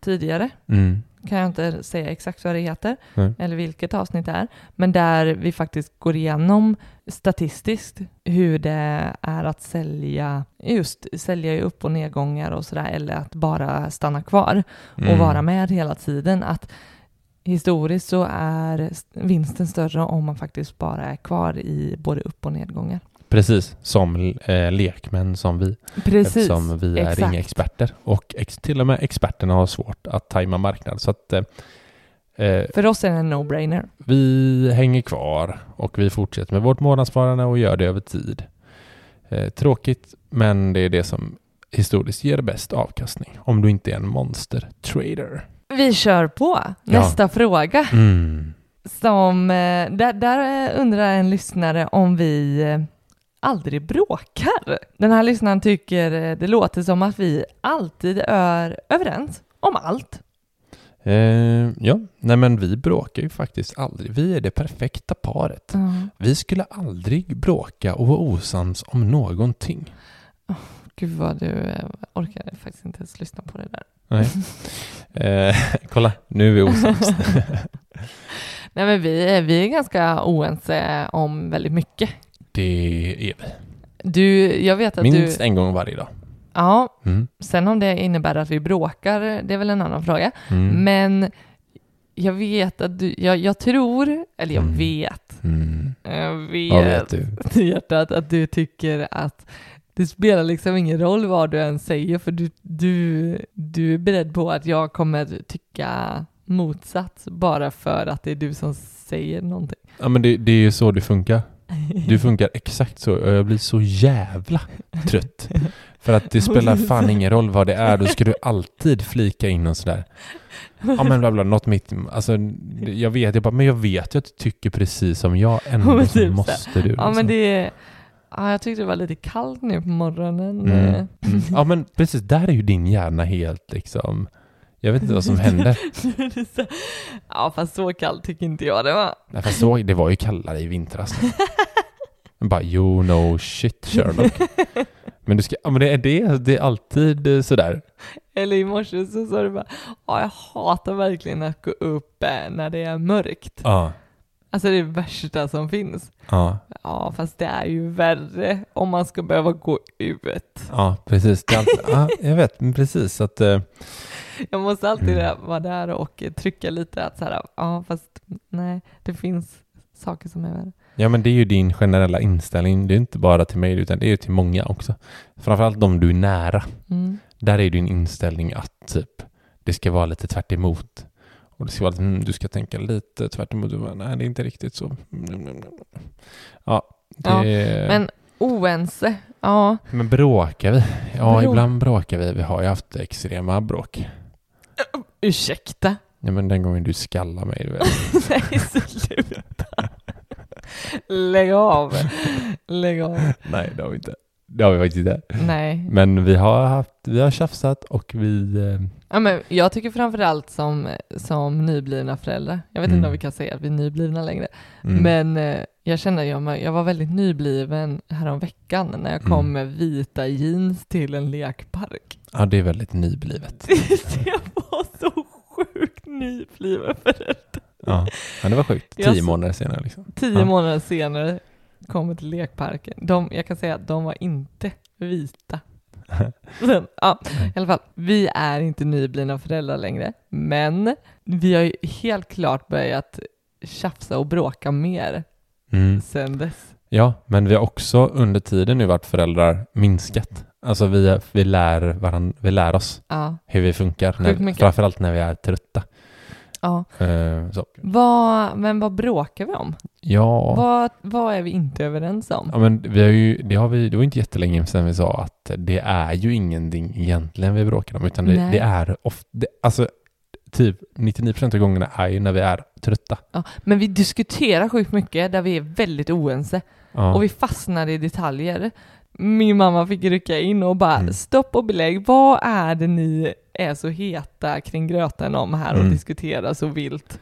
[SPEAKER 1] tidigare,
[SPEAKER 2] Mm.
[SPEAKER 1] kan jag inte säga exakt vad det heter,
[SPEAKER 2] Nej.
[SPEAKER 1] eller vilket avsnitt det är, men där vi faktiskt går igenom statistiskt hur det är att sälja, just sälja i upp och nedgångar och sådär, eller att bara stanna kvar
[SPEAKER 2] Mm.
[SPEAKER 1] och vara med hela tiden. Att historiskt så är s- vinsten större om man faktiskt bara är kvar i både upp och nedgångar.
[SPEAKER 2] Precis, som eh, lekmän som vi.
[SPEAKER 1] Precis.
[SPEAKER 2] Eftersom vi är
[SPEAKER 1] Exakt.
[SPEAKER 2] inga experter. Och ex- till och med experterna har svårt att tajma marknaden. Så att eh, eh,
[SPEAKER 1] För oss är det en no-brainer.
[SPEAKER 2] vi hänger kvar och vi fortsätter med vårt månadssparande och gör det över tid. Eh, tråkigt, men det är det som historiskt ger bäst avkastning. Om du inte är en monster-trader.
[SPEAKER 1] Vi kör på
[SPEAKER 2] Ja.
[SPEAKER 1] nästa fråga.
[SPEAKER 2] Mm.
[SPEAKER 1] Som, eh, där, där eh, undrar en lyssnare om vi eh, aldrig bråkar. Den här lyssnaren tycker eh, det låter som att vi alltid är överens om allt.
[SPEAKER 2] Eh, ja, nej men vi bråkar ju faktiskt aldrig. Vi är det perfekta paret. Vi skulle aldrig bråka och vara osams om någonting.
[SPEAKER 1] Gud vad du eh, orkar faktiskt inte ens lyssna på det där.
[SPEAKER 2] Nej. Eh, <laughs> kolla, nu är vi
[SPEAKER 1] <laughs>
[SPEAKER 2] osams.
[SPEAKER 1] <laughs> Nej men vi, är- vi är ganska oense om väldigt mycket.
[SPEAKER 2] Det är vi.
[SPEAKER 1] Du, jag vet att
[SPEAKER 2] Minst
[SPEAKER 1] du...
[SPEAKER 2] en gång varje dag.
[SPEAKER 1] Ja,
[SPEAKER 2] Mm.
[SPEAKER 1] sen om det innebär att vi bråkar, det är väl en annan fråga.
[SPEAKER 2] Mm.
[SPEAKER 1] Men jag vet att du, jag, jag tror, eller jag
[SPEAKER 2] Mm.
[SPEAKER 1] vet,
[SPEAKER 2] Mm.
[SPEAKER 1] jag vet,
[SPEAKER 2] Vad vet du?
[SPEAKER 1] i hjärtat att du tycker att det spelar liksom ingen roll vad du än säger för du, du, du är beredd på att jag kommer tycka motsatt bara för att det är du som säger någonting.
[SPEAKER 2] Ja, men det, det är ju så du funkar. Du funkar exakt så. och Jag blir så jävla trött. För att det spelar fan ingen roll vad det är. Då ska du alltid flika in och sådär. Ja men bla bla, något mitt. Alltså, det- jag vet, jag bara, men jag vet ju att du tycker precis som jag.
[SPEAKER 1] Ja,
[SPEAKER 2] Ändå
[SPEAKER 1] men
[SPEAKER 2] så
[SPEAKER 1] typ så.
[SPEAKER 2] måste du.
[SPEAKER 1] Ja men
[SPEAKER 2] liksom.
[SPEAKER 1] det, Ja, jag tyckte det var lite kallt nu på morgonen.
[SPEAKER 2] Mm.
[SPEAKER 1] Eh,
[SPEAKER 2] Mm. Ja men precis, där är ju din hjärna helt liksom... Jag vet inte vad som händer.
[SPEAKER 1] <laughs> Det är så- ja, fast så kallt tycker inte jag det var. <laughs>
[SPEAKER 2] Nej, fast så, det var ju kallare i vintras. Jag bara you know shit <laughs> Sherlock. Men, du ska, ja, men det, är det, det är alltid eh, sådär.
[SPEAKER 1] Eller i morse så sa du bara, ja, jag hatar verkligen att gå upp eh, när det är mörkt.
[SPEAKER 2] Ja.
[SPEAKER 1] Alltså det är det värsta som finns.
[SPEAKER 2] Ja,
[SPEAKER 1] Ja, fast det är ju värre om man ska behöva gå ut.
[SPEAKER 2] ja precis. Det är alltid, ja, jag vet, men precis. Att, eh,
[SPEAKER 1] Jag måste alltid
[SPEAKER 2] Mm.
[SPEAKER 1] vara där och eh, trycka lite att så här, ja, fast nej, det finns saker som är värre.
[SPEAKER 2] ja, men det är ju din generella inställning. Det är inte bara till mig, utan det är ju till många också. Framförallt de du är nära.
[SPEAKER 1] Mm.
[SPEAKER 2] Där är din inställning att typ, det ska vara lite tvärt emot. Och det ska vara, lite, mm, du ska tänka lite tvärt emot. Du bara, Nej, det är inte riktigt så. Mm, mm, mm. Ja, det,
[SPEAKER 1] Ja, Men oense, ja.
[SPEAKER 2] men bråkar vi? Ja,
[SPEAKER 1] Bråk-
[SPEAKER 2] ibland bråkar vi. Vi har ju haft extrema bråk.
[SPEAKER 1] Ursäkta. <laughs>
[SPEAKER 2] Ja, men den gången du skallar mig, du vet.
[SPEAKER 1] Nej, sluta. Lägg av. Lägg av.
[SPEAKER 2] <laughs> Nej, det har vi inte. Det har vi faktiskt inte.
[SPEAKER 1] Nej.
[SPEAKER 2] Men vi har, haft, vi har tjafsat och vi... eh,
[SPEAKER 1] Ja, men jag tycker framförallt som, som nyblivna föräldrar, jag vet inte
[SPEAKER 2] Mm.
[SPEAKER 1] om vi kan säga att vi är nyblivna längre,
[SPEAKER 2] Mm.
[SPEAKER 1] men eh, jag känner, jag, jag var väldigt nybliven häromveckan när jag kom
[SPEAKER 2] Mm.
[SPEAKER 1] med vita jeans till en lekpark. <laughs>
[SPEAKER 2] Ja, det är väldigt nyblivet.
[SPEAKER 1] jag var så sjukt nybliven förälder.
[SPEAKER 2] Ja, ja det var sjukt.
[SPEAKER 1] Jag
[SPEAKER 2] Tio
[SPEAKER 1] så-
[SPEAKER 2] månader senare liksom.
[SPEAKER 1] Tio
[SPEAKER 2] Ja.
[SPEAKER 1] månader senare kommer till lekparken. De, jag kan säga att de var inte
[SPEAKER 2] <laughs>
[SPEAKER 1] vita. Sen, ja, i alla fall, vi är inte nyblivna föräldrar längre, men vi har ju helt klart börjat tjafsa och bråka mer
[SPEAKER 2] Mm.
[SPEAKER 1] sen dess.
[SPEAKER 2] Ja, men vi har också under tiden nu varit föräldrar minskat. Alltså vi, vi, lär, varann, vi lär oss
[SPEAKER 1] Ja,
[SPEAKER 2] hur vi funkar.
[SPEAKER 1] Sjukt
[SPEAKER 2] När,
[SPEAKER 1] mycket.
[SPEAKER 2] framförallt när vi är trötta.
[SPEAKER 1] ja.
[SPEAKER 2] Eh, så.
[SPEAKER 1] Vad, men vad bråkar vi om?
[SPEAKER 2] Ja,
[SPEAKER 1] Vad, vad är vi inte överens om?
[SPEAKER 2] ja men vi har ju, det, har vi, det var inte jättelänge sedan vi sa att det är ju ingenting egentligen vi bråkar om, utan det,
[SPEAKER 1] Nej.
[SPEAKER 2] det är ofta, det, alltså typ 99% av gångerna är ju när vi är trötta.
[SPEAKER 1] Ja, men vi diskuterar sjukt mycket där vi är väldigt oense.
[SPEAKER 2] Ja.
[SPEAKER 1] och vi fastnade i detaljer. Min mamma fick rycka in och bara
[SPEAKER 2] Mm.
[SPEAKER 1] stopp och belägg, vad är det ni är så heta kring gröten om här och
[SPEAKER 2] Mm.
[SPEAKER 1] diskuterar så vilt?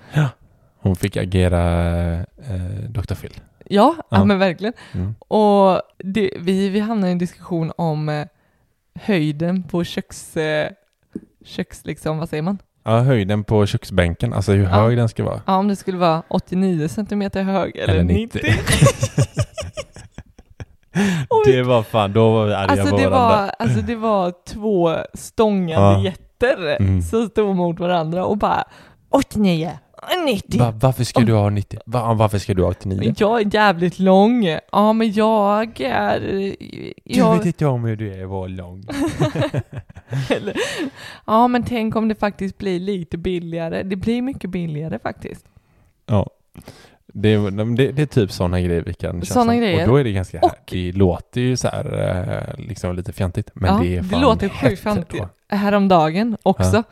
[SPEAKER 2] Hon fick agera eh, Dr. Phil.
[SPEAKER 1] Ja, ja.
[SPEAKER 2] Ja.
[SPEAKER 1] men verkligen.
[SPEAKER 2] Mm.
[SPEAKER 1] Och det, vi, vi hamnade i en diskussion om eh, höjden på köks... Eh, köks liksom, vad säger man?
[SPEAKER 2] Ja, höjden på köksbänken, alltså hur hög den ska vara.
[SPEAKER 1] Ja, om det skulle vara 89 centimeter hög eller, 90. Och vi-
[SPEAKER 2] det var fan, då var vi arga
[SPEAKER 1] Alltså
[SPEAKER 2] på
[SPEAKER 1] det,
[SPEAKER 2] varandra.
[SPEAKER 1] var, alltså det var två stångande
[SPEAKER 2] Ja.
[SPEAKER 1] jätter
[SPEAKER 2] Mm.
[SPEAKER 1] som stod mot varandra och bara 89, 90.
[SPEAKER 2] Va, varför ska du ha 90? Va, varför ska du ha 89?
[SPEAKER 1] Men jag är jävligt lång. Ja, men jag är...
[SPEAKER 2] Du vet
[SPEAKER 1] Jag,
[SPEAKER 2] inte om hur du är var lång.
[SPEAKER 1] ja, men tänk om det faktiskt blir lite billigare. Det blir mycket billigare faktiskt.
[SPEAKER 2] ja. Det, är- men det, det är typ sådana grejer vi kan tjafsa
[SPEAKER 1] Såna
[SPEAKER 2] om.
[SPEAKER 1] grejer.
[SPEAKER 2] Och då är det ganska
[SPEAKER 1] Och-
[SPEAKER 2] här. Det låter ju så här eh, liksom lite fjantigt. Men
[SPEAKER 1] ja,
[SPEAKER 2] det är fan
[SPEAKER 1] låter
[SPEAKER 2] hett
[SPEAKER 1] sjukt fjantigt.
[SPEAKER 2] då.
[SPEAKER 1] Häromdagen också.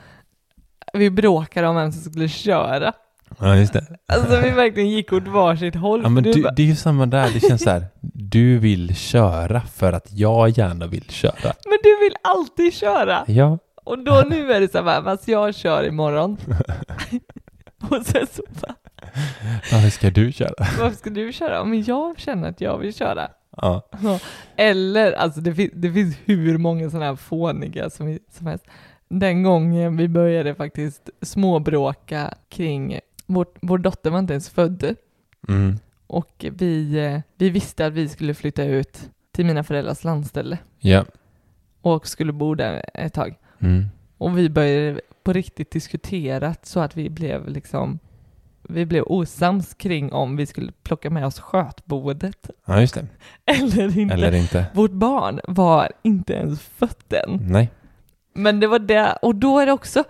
[SPEAKER 1] Vi bråkade om vem som skulle köra.
[SPEAKER 2] Ja, just det.
[SPEAKER 1] Alltså vi verkligen gick åt varsitt håll.
[SPEAKER 2] Ja, men
[SPEAKER 1] Du
[SPEAKER 2] du,
[SPEAKER 1] bara,
[SPEAKER 2] det är ju samma där. Det känns så här. Du vill köra för att jag gärna vill köra.
[SPEAKER 1] men du vill alltid köra.
[SPEAKER 2] Ja.
[SPEAKER 1] Och då nu är det så här, fast jag kör imorgon. och sen så bara,
[SPEAKER 2] Varför ska du köra?
[SPEAKER 1] varför ska du köra? Men jag känner att jag vill köra.
[SPEAKER 2] Ja.
[SPEAKER 1] Eller, alltså det, fin- det finns hur många sådana här fåniga som, som helst. Den gången vi började faktiskt småbråka kring, vår, vår dotter var inte ens född
[SPEAKER 2] Mm.
[SPEAKER 1] och vi, eh, vi visste att vi skulle flytta ut till mina föräldrars landställe
[SPEAKER 2] Ja.
[SPEAKER 1] och skulle bo där ett tag.
[SPEAKER 2] Mm.
[SPEAKER 1] Och vi började på riktigt diskutera så att vi blev liksom vi blev osams kring om vi skulle plocka med oss skötboendet
[SPEAKER 2] ja, just det.
[SPEAKER 1] <laughs> eller inte.
[SPEAKER 2] Eller inte.
[SPEAKER 1] Vårt barn var inte ens fött än.
[SPEAKER 2] Nej.
[SPEAKER 1] Men det var det, och då är det också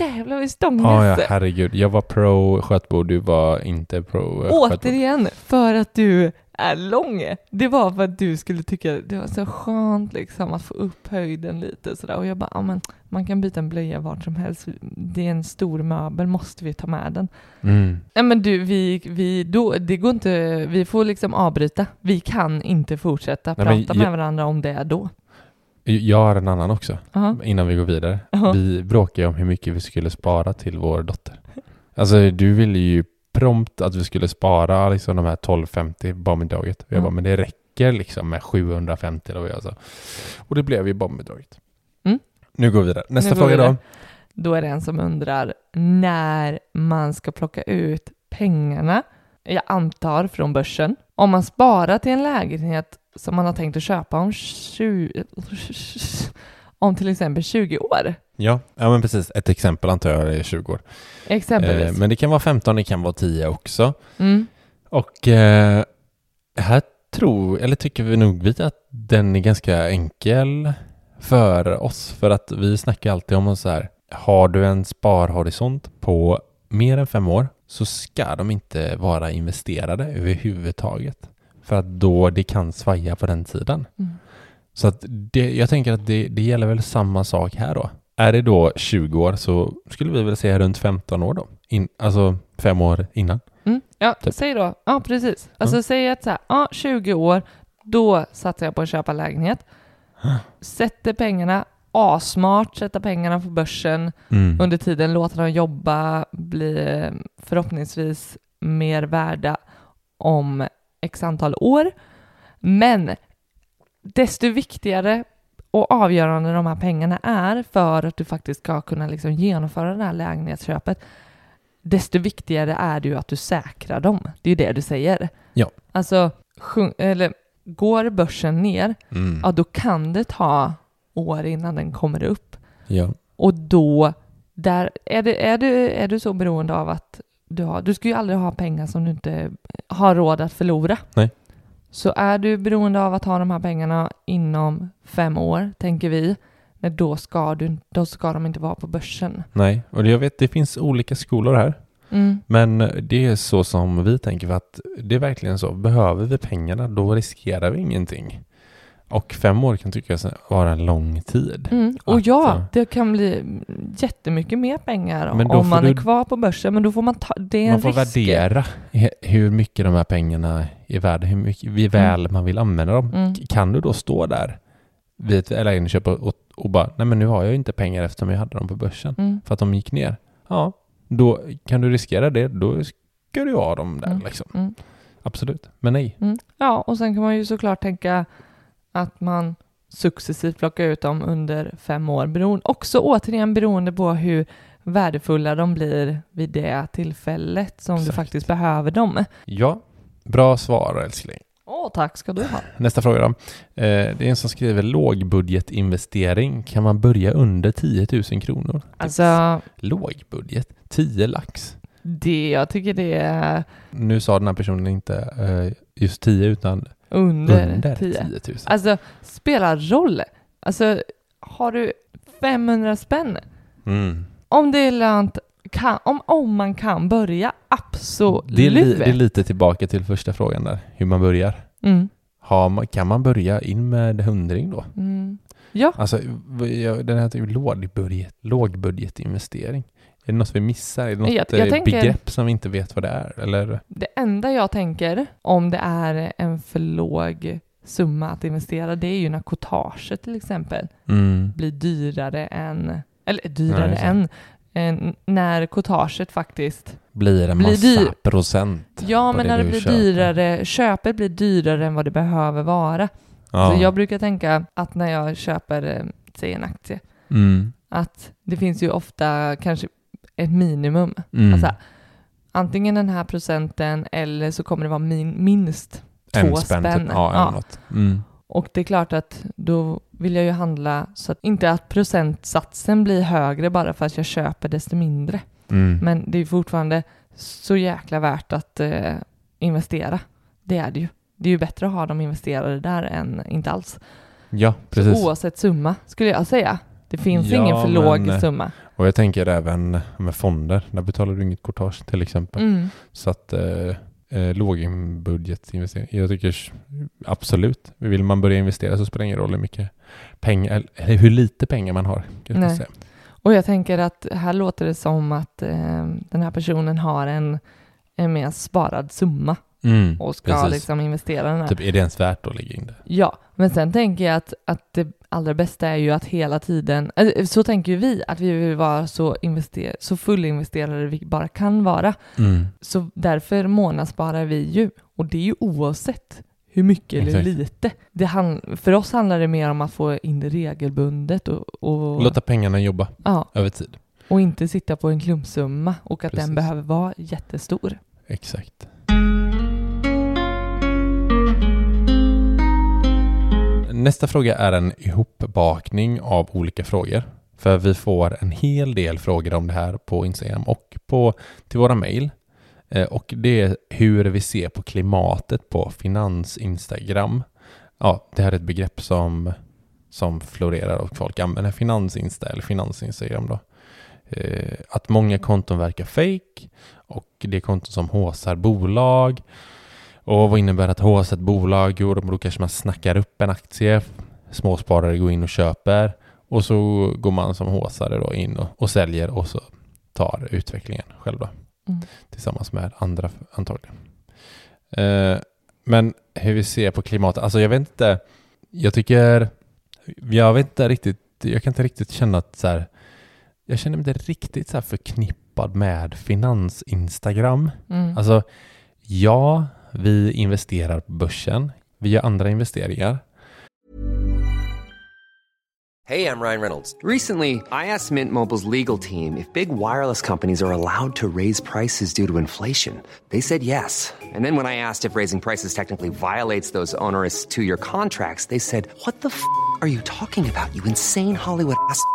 [SPEAKER 1] jävlar vad
[SPEAKER 2] Ah,
[SPEAKER 1] vi
[SPEAKER 2] Ja,
[SPEAKER 1] stångas.
[SPEAKER 2] ja, herregud. Jag var pro skötbord, du var inte pro eh, skötbord.
[SPEAKER 1] Återigen, för att du är lång. Det var för att du skulle tycka det var så skönt liksom att få upp höjden lite sådär. Och jag bara, ja men man kan byta en blöja vart som helst. Det är en stor möbel, måste vi ta med den?
[SPEAKER 2] Mm.
[SPEAKER 1] Nej men du, vi, vi, då, det går inte, vi får liksom avbryta. Vi kan inte fortsätta
[SPEAKER 2] Nej, men
[SPEAKER 1] prata
[SPEAKER 2] jag-
[SPEAKER 1] med varandra om det då. Mm.
[SPEAKER 2] Jag har en annan också,
[SPEAKER 1] Aha.
[SPEAKER 2] innan vi går vidare.
[SPEAKER 1] Ja.
[SPEAKER 2] Vi bråkade ju om hur mycket vi skulle spara till vår dotter. Alltså du ville ju prompt att vi skulle spara liksom, de här 1250 barnbidraget. Och jag
[SPEAKER 1] Mm.
[SPEAKER 2] bara, men det räcker liksom med 750 eller vad jag sa. Och det blev ju barnbidraget.
[SPEAKER 1] Mm.
[SPEAKER 2] Nu går vi vidare. Nästa
[SPEAKER 1] går vi
[SPEAKER 2] fråga då.
[SPEAKER 1] vidare. Då är det en som undrar när man ska plocka ut pengarna, jag antar från börsen. Om man sparar till en lägenhet som man har tänkt att köpa om 20, om till exempel 20 år,
[SPEAKER 2] Ja, ja men precis. Ett exempel antar jag är 20 år. Eh,
[SPEAKER 1] exempelvis.
[SPEAKER 2] men det kan vara 15, det kan vara 10 också.
[SPEAKER 1] Mm.
[SPEAKER 2] Och eh, här tror, eller tycker vi nog vi att den är ganska enkel för oss. För att vi snackar alltid om så här, har du en sparhorisont på mer än fem år så ska de inte vara investerade överhuvudtaget. För att då det kan svaja på den tiden.
[SPEAKER 1] Mm.
[SPEAKER 2] Så att det, jag tänker att det, det gäller väl samma sak här då. Är det då 20 år så skulle vi väl säga runt 15 år då. In, alltså fem år innan.
[SPEAKER 1] Mm. Ja,
[SPEAKER 2] Typ.
[SPEAKER 1] säg då. Ja, precis. Alltså säg att så här, ja, 20 år, då satsar jag på att köpa lägenhet. Sätter pengarna, asmart, sätta pengarna på börsen.
[SPEAKER 2] Mm.
[SPEAKER 1] Under tiden låta dem jobba, bli eh, förhoppningsvis mer värda om x antal år. Men desto viktigare och avgörande de här pengarna är för att du faktiskt ska kunna liksom genomföra det här lägenhetsköpet, desto viktigare är det ju att du säkrar dem. Det är ju det du säger.
[SPEAKER 2] Ja.
[SPEAKER 1] Alltså, sjun- eller, går börsen ner,
[SPEAKER 2] Mm.
[SPEAKER 1] ja då kan det ta år innan den kommer upp.
[SPEAKER 2] Ja.
[SPEAKER 1] Och då, där, är, det, är, du, är du så beroende av att du har, du ska ju aldrig ha pengar som du inte har råd att förlora.
[SPEAKER 2] Nej.
[SPEAKER 1] Så är du beroende av att ha de här pengarna inom fem år, tänker vi, nej, då, ska du, då ska de inte vara på börsen.
[SPEAKER 2] Nej, och jag vet det finns olika skolor här.
[SPEAKER 1] Mm.
[SPEAKER 2] Men det är så som vi tänker för att det är verkligen så. Behöver vi pengarna då riskerar vi ingenting. Och fem år kan tyckas vara en lång tid.
[SPEAKER 1] Mm. Och
[SPEAKER 2] Att, eh,
[SPEAKER 1] ja, det kan bli jättemycket mer pengar
[SPEAKER 2] Men då får
[SPEAKER 1] om man
[SPEAKER 2] du-
[SPEAKER 1] är kvar på börsen, men då får man ta, det är en
[SPEAKER 2] Man får
[SPEAKER 1] risk.
[SPEAKER 2] värdera he- hur mycket de här pengarna är värda, hur mycket hur väl man vill använda dem.
[SPEAKER 1] Mm.
[SPEAKER 2] K- Kan du då stå där vid ett lägenhetsköp och, och, och bara, nej men nu har jag ju inte pengar eftersom jag hade dem på börsen.
[SPEAKER 1] Mm.
[SPEAKER 2] För att de gick ner. Ja, då kan du riskera det. Då ska du ha dem där
[SPEAKER 1] Mm.
[SPEAKER 2] liksom.
[SPEAKER 1] Mm.
[SPEAKER 2] Absolut, men nej.
[SPEAKER 1] Mm. Ja, och sen kan man ju såklart tänka att man successivt plockar ut dem under fem år. Beroende, också återigen beroende på hur värdefulla de blir vid det tillfället som du
[SPEAKER 2] Exakt.
[SPEAKER 1] faktiskt behöver dem.
[SPEAKER 2] Ja, bra svar älskling.
[SPEAKER 1] Åh, tack ska du ha.
[SPEAKER 2] Nästa fråga då. Eh, Det är en som skriver lågbudgetinvestering. Kan man börja under 10 000 kronor?
[SPEAKER 1] Alltså,
[SPEAKER 2] Lågbudget? 10 lax?
[SPEAKER 1] det, jag tycker det är
[SPEAKER 2] Nu sa den här personen inte eh, just 10 utan
[SPEAKER 1] under,
[SPEAKER 2] under 10
[SPEAKER 1] 10.
[SPEAKER 2] 000.
[SPEAKER 1] Alltså, spelar roll. Alltså, har du 500 spänn
[SPEAKER 2] Mm.
[SPEAKER 1] om det är lönt, kan, om, om man kan börja, absolut.
[SPEAKER 2] Det, är li, det är lite tillbaka till första frågan där, hur man börjar.
[SPEAKER 1] mm.
[SPEAKER 2] Har man, kan man börja in med hundring då?
[SPEAKER 1] Mm. Ja,
[SPEAKER 2] Alltså, v- jag- den här typ lågbudget, lågbudgetinvestering. Är det något vi missar? Är det något
[SPEAKER 1] Jag- jag
[SPEAKER 2] eh,
[SPEAKER 1] tänker-
[SPEAKER 2] begrepp som vi inte vet vad det är? Eller?
[SPEAKER 1] det enda jag tänker om det är en för låg summa att investera, det är ju när courtaget till exempel
[SPEAKER 2] Mm.
[SPEAKER 1] blir dyrare än, eller
[SPEAKER 2] Nej,
[SPEAKER 1] dyrare
[SPEAKER 2] just det.
[SPEAKER 1] än, än, när courtaget faktiskt,
[SPEAKER 2] Blir en
[SPEAKER 1] Blir
[SPEAKER 2] massa
[SPEAKER 1] dyr-
[SPEAKER 2] procent.
[SPEAKER 1] ja
[SPEAKER 2] Vad
[SPEAKER 1] men
[SPEAKER 2] det
[SPEAKER 1] när det
[SPEAKER 2] du
[SPEAKER 1] blir
[SPEAKER 2] köper.
[SPEAKER 1] dyrare, köpet blir dyrare än vad det behöver vara.
[SPEAKER 2] Ja.
[SPEAKER 1] Så jag brukar tänka att när jag köper, eh, säg en aktie,
[SPEAKER 2] mm.
[SPEAKER 1] att det finns ju ofta kanske ett minimum.
[SPEAKER 2] Mm.
[SPEAKER 1] Alltså, antingen den här procenten eller så kommer det vara min, minst två spänn.
[SPEAKER 2] Typ. Ja,
[SPEAKER 1] Ja.
[SPEAKER 2] Eller något. Mm.
[SPEAKER 1] Och det är klart att då vill jag ju handla så att inte att procentsatsen blir högre bara för att jag köper desto mindre.
[SPEAKER 2] Mm.
[SPEAKER 1] Men det är ju fortfarande så jäkla värt att eh, investera. Det är det ju. Det är ju bättre att ha dem investerade där än inte alls.
[SPEAKER 2] ja, precis.
[SPEAKER 1] Oavsett summa skulle jag säga. Det finns
[SPEAKER 2] Ja,
[SPEAKER 1] ingen för
[SPEAKER 2] men- eh,
[SPEAKER 1] låg summa.
[SPEAKER 2] Och jag tänker även med fonder. Där betalar du inget courtage till exempel.
[SPEAKER 1] Mm.
[SPEAKER 2] Så att eh, eh, låginbudgetinvestering. Jag tycker s- absolut, vill man börja investera så spelar det ingen roll hur mycket pengar, eller hur lite pengar man har. kan jag
[SPEAKER 1] Nej.
[SPEAKER 2] säga.
[SPEAKER 1] Och jag tänker att här låter det som att eh, den här personen har en, en mer sparad summa
[SPEAKER 2] Mm,
[SPEAKER 1] och ska
[SPEAKER 2] precis.
[SPEAKER 1] liksom investera den här.
[SPEAKER 2] Typ, är det ens värt att lägga in det?
[SPEAKER 1] Ja, men sen tänker jag att, att det allra bästa är ju att hela tiden, eller, så tänker ju vi, att vi vill vara så, invester- så fullinvesterade vi bara kan vara.
[SPEAKER 2] Mm.
[SPEAKER 1] Så därför månadssparar vi ju, och det är ju oavsett hur mycket eller hur
[SPEAKER 2] Exakt.
[SPEAKER 1] lite. Det han, för oss handlar det mer om att få in det regelbundet och, och,
[SPEAKER 2] Låta pengarna jobba
[SPEAKER 1] ja,
[SPEAKER 2] över tid.
[SPEAKER 1] och inte sitta på en klumpsumma och att
[SPEAKER 2] Precis.
[SPEAKER 1] den behöver vara jättestor.
[SPEAKER 2] Exakt. Nästa fråga är en ihopbakning av olika frågor. För vi får en hel del frågor om det här på Instagram och på, till våra mejl. Eh, Och det är hur vi ser på klimatet på finansinstagram. Ja, det här är ett begrepp som, som florerar och folk använder finansinsta eller finansinstagram då. Eh, Att många konton verkar fake och det är konton som håsar bolag. Och vad innebär att håsa ett bolag? Jo, då kanske man snackar upp en aktie. Småsparare går in och köper och så går man som håsare då in och, och säljer och så tar utvecklingen själv då.
[SPEAKER 1] Mm.
[SPEAKER 2] Tillsammans med andra f- antagligen. Eh, men hur vi ser på klimatet, alltså jag vet inte. Jag tycker, jag vet inte riktigt, jag kan inte riktigt känna att så här, jag känner mig inte riktigt så här förknippad med finans-instagram.
[SPEAKER 1] Mm.
[SPEAKER 2] Alltså, ja, vi investerar på börsen. Vi gör andra investeringar.
[SPEAKER 3] Hey, I'm Ryan Reynolds. Recently, I asked Mint Mobile's legal team if big wireless companies are allowed to raise prices due to inflation. They said yes. And then when I asked if raising prices technically violates those onerous two year contracts, they said, What the f are you talking about, you insane Hollywood ass? f-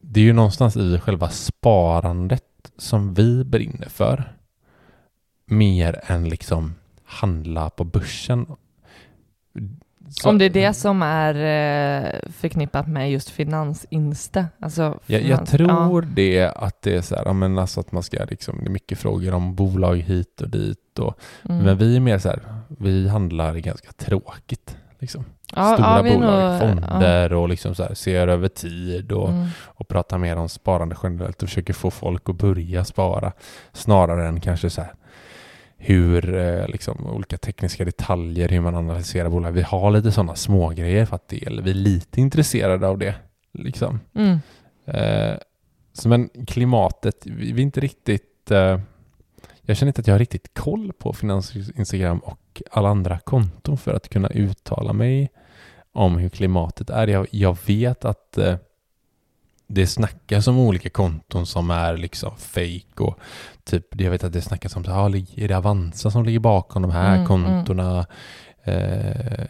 [SPEAKER 2] det är ju någonstans i själva sparandet som vi brinner för. Mer än liksom handla på börsen. Så-
[SPEAKER 1] Om det är det som är eh, förknippat med just finansinsta. Alltså
[SPEAKER 2] Jag, jag
[SPEAKER 1] finans-
[SPEAKER 2] tror det att det är så här, ja, men alltså att man ska liksom, det är mycket frågor om bolag hit och dit. Och,
[SPEAKER 1] ja, mm.
[SPEAKER 2] Men vi är mer så här, vi handlar ganska tråkigt. Liksom.
[SPEAKER 1] Ja,
[SPEAKER 2] Stora
[SPEAKER 1] ja, vi är
[SPEAKER 2] bolag,
[SPEAKER 1] nog-
[SPEAKER 2] fonder och liksom så här, ser över tid
[SPEAKER 1] ja.
[SPEAKER 2] och,
[SPEAKER 1] Mm.
[SPEAKER 2] och pratar mer om sparande generellt och försöker få folk att börja spara snarare än kanske så här hur eh, liksom, olika tekniska detaljer, hur man analyserar bolag. Vi har lite sådana smågrejer för att det, eller vi är lite intresserade av det. Liksom.
[SPEAKER 1] Mm.
[SPEAKER 2] Eh, så men klimatet, vi vi är inte riktigt... Eh, jag känner inte att jag har riktigt koll på Finansinstagram och alla andra konton för att kunna uttala mig om hur klimatet är. Jag, jag vet att eh, det snackas om olika konton som är liksom fake och typ, jag vet att det snackas om så här, ah, lig- är det Avanza som ligger bakom de här
[SPEAKER 1] Mm,
[SPEAKER 2] kontona? Eh,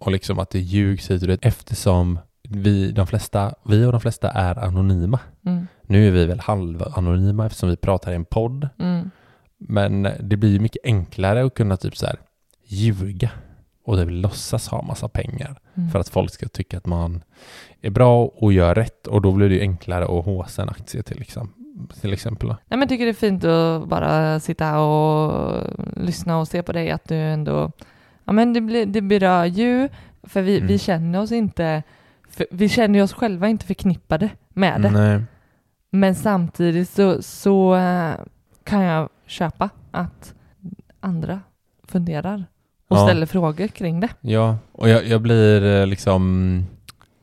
[SPEAKER 2] och liksom att det ljugs hit och dit eftersom vi, de flesta, vi och de flesta är anonyma.
[SPEAKER 1] Mm.
[SPEAKER 2] Nu är vi väl halvanonyma eftersom vi pratar i en podd,
[SPEAKER 1] Mm.
[SPEAKER 2] men det blir ju mycket enklare att kunna typ så här ljuga och typ låtsas ha massa pengar
[SPEAKER 1] Mm.
[SPEAKER 2] för att folk ska tycka att man är bra och gör rätt och då blir det ju enklare att håsa en aktie till, liksom, till exempel. då.
[SPEAKER 1] Nej, men jag tycker det är fint att bara sitta och lyssna och se på dig att du ändå... Ja, men det, blir, det berör ju, för vi,
[SPEAKER 2] Mm.
[SPEAKER 1] vi känner oss inte... För, vi känner ju oss själva inte förknippade med det.
[SPEAKER 2] Nej.
[SPEAKER 1] Men samtidigt så, så eh, kan jag köpa att andra funderar och
[SPEAKER 2] Ja.
[SPEAKER 1] ställer frågor kring det.
[SPEAKER 2] Ja, och jag, jag blir eh, liksom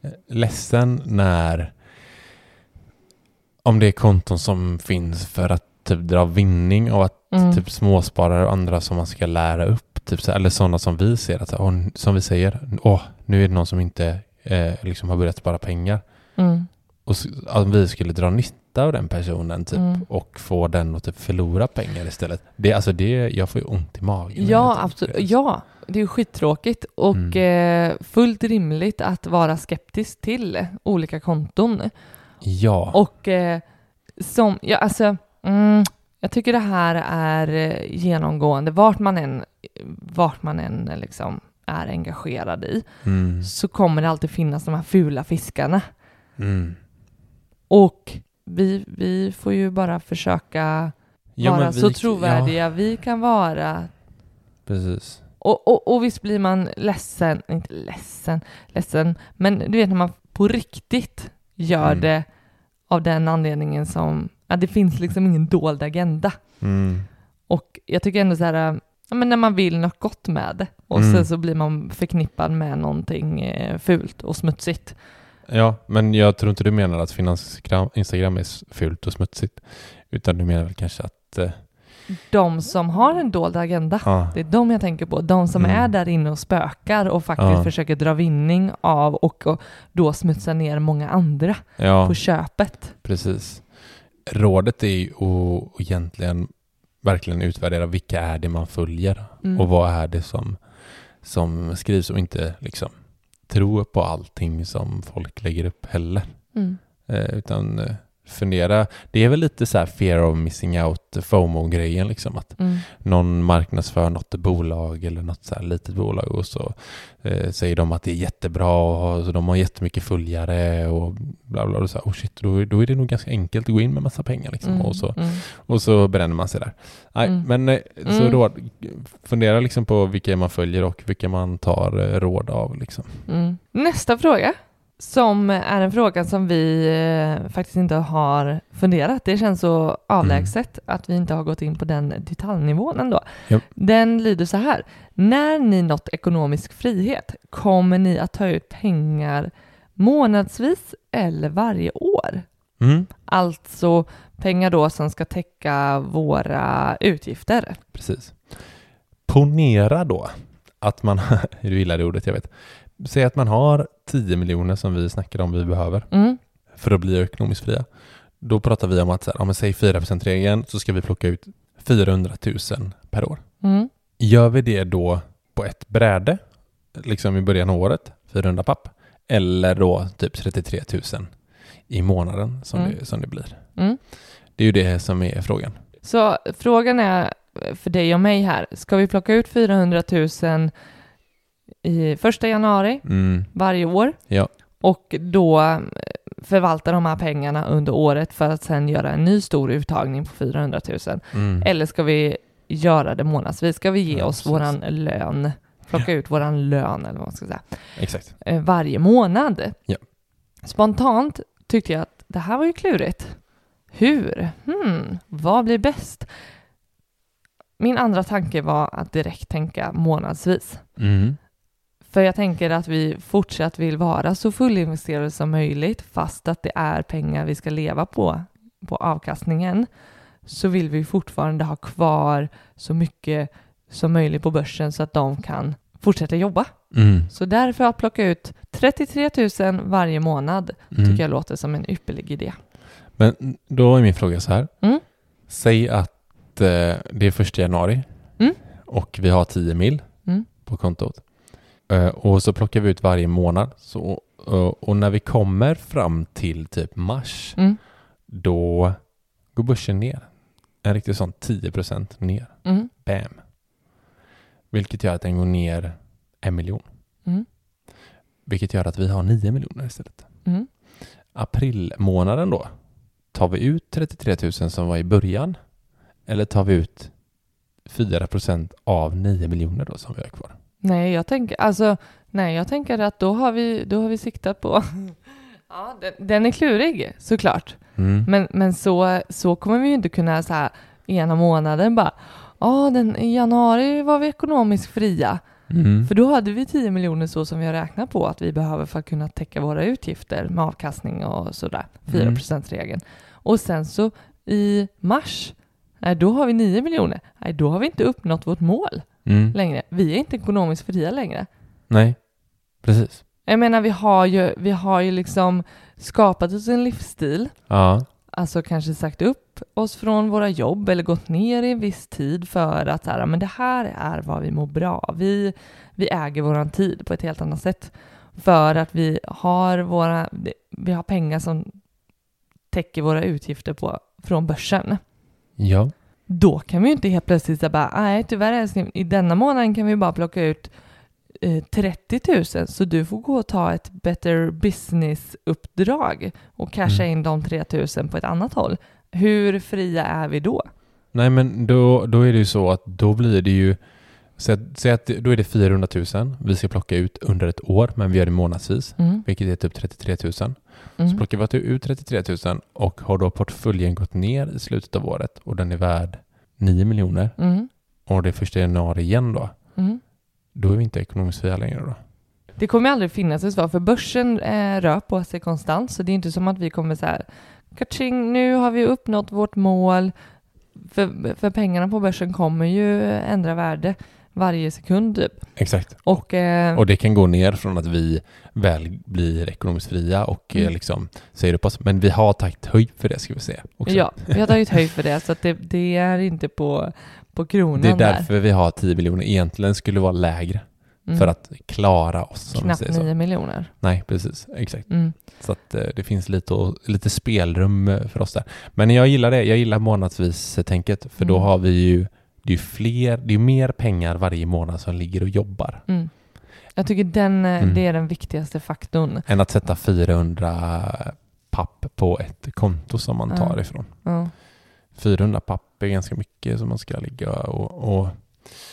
[SPEAKER 2] eh, ledsen när om det är konton som finns för att typ dra vinning och att
[SPEAKER 1] Mm.
[SPEAKER 2] typ småsparare och andra som man ska lära upp, typ så, eller sådana som vi ser, att, så, åh, som vi säger, åh, nu är det någon som inte eh, liksom har börjat spara pengar.
[SPEAKER 1] Mm.
[SPEAKER 2] Och s- om vi skulle dra nytta av den personen typ,
[SPEAKER 1] Mm.
[SPEAKER 2] och få den att typ förlora pengar istället. Det, alltså det, jag får ju ont i magen. när jag
[SPEAKER 1] Ja,
[SPEAKER 2] tänker
[SPEAKER 1] absolut.
[SPEAKER 2] på det. Mm.
[SPEAKER 1] Ja, det är ju skittråkigt och eh, fullt rimligt att vara skeptisk till olika konton.
[SPEAKER 2] Ja.
[SPEAKER 1] Och eh, som, ja, alltså, mm, jag tycker det här är eh, genomgående. Vart man än, vart man än eh, liksom är engagerad i
[SPEAKER 2] Mm.
[SPEAKER 1] så kommer det alltid finnas de här fula fiskarna.
[SPEAKER 2] Mm.
[SPEAKER 1] Och vi, vi får ju bara försöka
[SPEAKER 2] Ja,
[SPEAKER 1] vara
[SPEAKER 2] men vi-
[SPEAKER 1] så
[SPEAKER 2] Ja,
[SPEAKER 1] trovärdiga vi kan vara.
[SPEAKER 2] precis.
[SPEAKER 1] Och, och, och visst blir man ledsen, inte ledsen, ledsen, men du vet när man på riktigt gör
[SPEAKER 2] Mm.
[SPEAKER 1] det av den anledningen som, att det finns liksom ingen dold agenda.
[SPEAKER 2] Mm.
[SPEAKER 1] Och jag tycker ändå så här, ja, men när man vill något gott med det och
[SPEAKER 2] Mm.
[SPEAKER 1] sen så blir man förknippad med någonting eh, fult och smutsigt.
[SPEAKER 2] Ja, men jag tror inte du menar att finanskram- Instagram är s- fult och smutsigt. Utan du menar väl kanske att... Eh,
[SPEAKER 1] De som har en dold agenda,
[SPEAKER 2] ja,
[SPEAKER 1] det är de jag tänker på. De som
[SPEAKER 2] Mm.
[SPEAKER 1] är där inne och spökar och faktiskt
[SPEAKER 2] Ja.
[SPEAKER 1] försöker dra vinning av och, och då smutsa ner många andra
[SPEAKER 2] ja
[SPEAKER 1] på köpet.
[SPEAKER 2] precis. Rådet är ju att egentligen verkligen utvärdera vilka är det man följer
[SPEAKER 1] Mm.
[SPEAKER 2] och vad är det som, som skrivs och inte liksom tro på allting som folk lägger upp heller.
[SPEAKER 1] Mm.
[SPEAKER 2] Eh, utan eh, fundera. Det är väl lite så här fear of missing out, FOMO-grejen liksom. Att
[SPEAKER 1] Mm.
[SPEAKER 2] någon marknadsför något bolag eller något så här litet bolag och så eh, säger de att det är jättebra och så de har jättemycket följare och bla bla. Och så här, oh shit, då, då är det nog ganska enkelt att gå in med massa pengar liksom.
[SPEAKER 1] Mm.
[SPEAKER 2] Och, så,
[SPEAKER 1] Mm.
[SPEAKER 2] och så bränner man sig där. Nej,
[SPEAKER 1] Mm.
[SPEAKER 2] men eh, så
[SPEAKER 1] Mm.
[SPEAKER 2] råd, fundera liksom på vilka man följer och vilka man tar eh, råd av liksom.
[SPEAKER 1] Mm. Nästa fråga, som är en fråga som vi eh, faktiskt inte har funderat. Det känns så avlägset att vi inte har gått in på den detaljnivån ändå.
[SPEAKER 2] Mm. Japp.
[SPEAKER 1] Den lyder så här. När ni nått ekonomisk frihet, kommer ni att ta ut pengar månadsvis eller varje år?
[SPEAKER 2] Mm.
[SPEAKER 1] Alltså pengar då som ska täcka våra utgifter.
[SPEAKER 2] Precis. Ponera då att man, <laughs> du gillar det ordet jag vet, säg att man har 10 miljoner som vi snackar om vi behöver
[SPEAKER 1] Mm.
[SPEAKER 2] för att bli ekonomiskt fria. Då pratar vi om att så här, ja, men säg 4%-regeln så ska vi plocka ut 400 000 per år.
[SPEAKER 1] Mm.
[SPEAKER 2] Gör vi det då på ett bräde, liksom i början av året, 400 papp, eller då typ 33 000 i månaden som,
[SPEAKER 1] Mm.
[SPEAKER 2] det, som det blir?
[SPEAKER 1] Mm.
[SPEAKER 2] Det är ju det som är frågan.
[SPEAKER 1] Så frågan är eh, för dig och mig här, ska vi plocka ut 400 000 i första januari
[SPEAKER 2] Mm.
[SPEAKER 1] varje år
[SPEAKER 2] Ja.
[SPEAKER 1] och då eh, förvalta de här pengarna under året för att sen göra en ny stor uttagning på 400 000?
[SPEAKER 2] Mm.
[SPEAKER 1] Eller ska vi göra det månadsvis? Ska vi ge
[SPEAKER 2] Ja,
[SPEAKER 1] oss
[SPEAKER 2] precis.
[SPEAKER 1] våran lön, plocka ut våran lön eller vad man ska säga,
[SPEAKER 2] Exakt.
[SPEAKER 1] eh, varje månad?
[SPEAKER 2] Ja.
[SPEAKER 1] Spontant tyckte jag att det här var ju klurigt. Hur? Hmm, vad blir bäst? Min andra tanke var att direkt tänka månadsvis.
[SPEAKER 2] Mm.
[SPEAKER 1] För jag tänker att vi fortsatt vill vara så fullinvesterade som möjligt, fast att det är pengar vi ska leva på, på avkastningen, så vill vi fortfarande ha kvar så mycket som möjligt på börsen så att de kan fortsätta jobba.
[SPEAKER 2] Mm.
[SPEAKER 1] Så därför att plocka ut 33 000 varje månad
[SPEAKER 2] Mm.
[SPEAKER 1] tycker jag låter som en ypperlig idé.
[SPEAKER 2] Men då är min fråga så här.
[SPEAKER 1] Mm.
[SPEAKER 2] Säg att eh, det är första januari
[SPEAKER 1] Mm.
[SPEAKER 2] och vi har 10 mil
[SPEAKER 1] Mm.
[SPEAKER 2] på kontot. Eh, och så plockar vi ut varje månad. Så, eh, och när vi kommer fram till typ mars,
[SPEAKER 1] Mm.
[SPEAKER 2] då går börsen ner. En riktig sån 10% ner.
[SPEAKER 1] Mm.
[SPEAKER 2] Bam. Vilket gör att den går ner en miljon.
[SPEAKER 1] Mm.
[SPEAKER 2] Vilket gör att vi har 9 miljoner istället.
[SPEAKER 1] Mm.
[SPEAKER 2] Aprilmånaden då? Tar vi ut 33 000 som var i början? Eller tar vi ut 4 av 9 miljoner då som vi har kvar?
[SPEAKER 1] Nej, jag tänker, alltså, nej, jag tänker att då har vi, då har vi siktat på... ja, den, den är klurig, såklart. Men, men så, så kommer vi ju inte kunna så här, ena månaden bara Ja, den i januari var vi ekonomiskt fria.
[SPEAKER 2] Mm.
[SPEAKER 1] För då hade vi 10 miljoner så som vi har räknat på att vi behöver för att kunna täcka våra utgifter med avkastning och sådär, 4%-regeln. Och sen så i mars, nej, då har vi 9 miljoner. Nej, då har vi inte uppnått vårt mål
[SPEAKER 2] Mm.
[SPEAKER 1] längre. Vi är inte ekonomiskt fria längre.
[SPEAKER 2] Nej, precis.
[SPEAKER 1] Jag menar, vi har ju, vi har ju liksom skapat oss en livsstil,
[SPEAKER 2] Ja,
[SPEAKER 1] alltså kanske sagt upp oss från våra jobb eller gått ner i en viss tid för att så här, men det här är vad vi mår bra av. Vi, vi äger våran tid på ett helt annat sätt för att vi har, våra, vi har pengar som täcker våra utgifter på, från börsen.
[SPEAKER 2] ja,
[SPEAKER 1] Då kan vi ju inte helt plötsligt säga bara, nej tyvärr älskling, i denna månaden kan vi bara plocka ut eh, 30 000 så du får gå och ta ett better business-uppdrag och casha in de 3 000 på ett annat håll. Hur fria är vi då?
[SPEAKER 2] Nej, men då, då är det ju så att då blir det ju... Säg att, säg att det- då är det 400 000 vi ska plocka ut under ett år, men vi gör det månadsvis,
[SPEAKER 1] Mm,
[SPEAKER 2] vilket är typ 33 000. Så
[SPEAKER 1] mm,
[SPEAKER 2] plockar vi ut 33 000 och har då portföljen gått ner i slutet av året och den är värd 9 miljoner
[SPEAKER 1] mm,
[SPEAKER 2] och det är första januari igen då.
[SPEAKER 1] mm.
[SPEAKER 2] Då är vi inte ekonomiskt fria längre då.
[SPEAKER 1] Det kommer aldrig finnas ett svar, för börsen eh, rör på sig konstant, så det är inte som att vi kommer så här, kaching, nu har vi uppnått vårt mål, för, för pengarna på börsen kommer ju ändra värde varje sekund typ.
[SPEAKER 2] Exakt.
[SPEAKER 1] Och, eh,
[SPEAKER 2] Och det kan gå ner från att vi väl blir ekonomiskt fria och eh,
[SPEAKER 1] Mm.
[SPEAKER 2] liksom säger upp oss. Men vi har tagit höjd för det ska vi se. Också.
[SPEAKER 1] ja, vi har tagit höjd för det, så att det, det är inte på, på kronan
[SPEAKER 2] Det är
[SPEAKER 1] där.
[SPEAKER 2] därför vi har 10 miljoner. Egentligen skulle vara lägre
[SPEAKER 1] Mm.
[SPEAKER 2] för att klara oss. Om vi
[SPEAKER 1] Knappt
[SPEAKER 2] säger så.
[SPEAKER 1] 9 miljoner.
[SPEAKER 2] Nej, precis. Exakt.
[SPEAKER 1] Mm.
[SPEAKER 2] Så att eh, det finns lite, och- lite spelrum eh, för oss där. Men jag gillar det. Jag gillar månadsvis-tänket för då
[SPEAKER 1] Mm.
[SPEAKER 2] har vi ju det är ju fler, det är ju mer pengar varje månad som ligger och jobbar
[SPEAKER 1] Mm. Jag tycker den, eh,
[SPEAKER 2] Mm.
[SPEAKER 1] det är den viktigaste faktorn.
[SPEAKER 2] än att sätta 400 papp på ett konto som man
[SPEAKER 1] Ja.
[SPEAKER 2] tar ifrån.
[SPEAKER 1] Ja.
[SPEAKER 2] 400 papper är ganska mycket som man ska ligga och, och,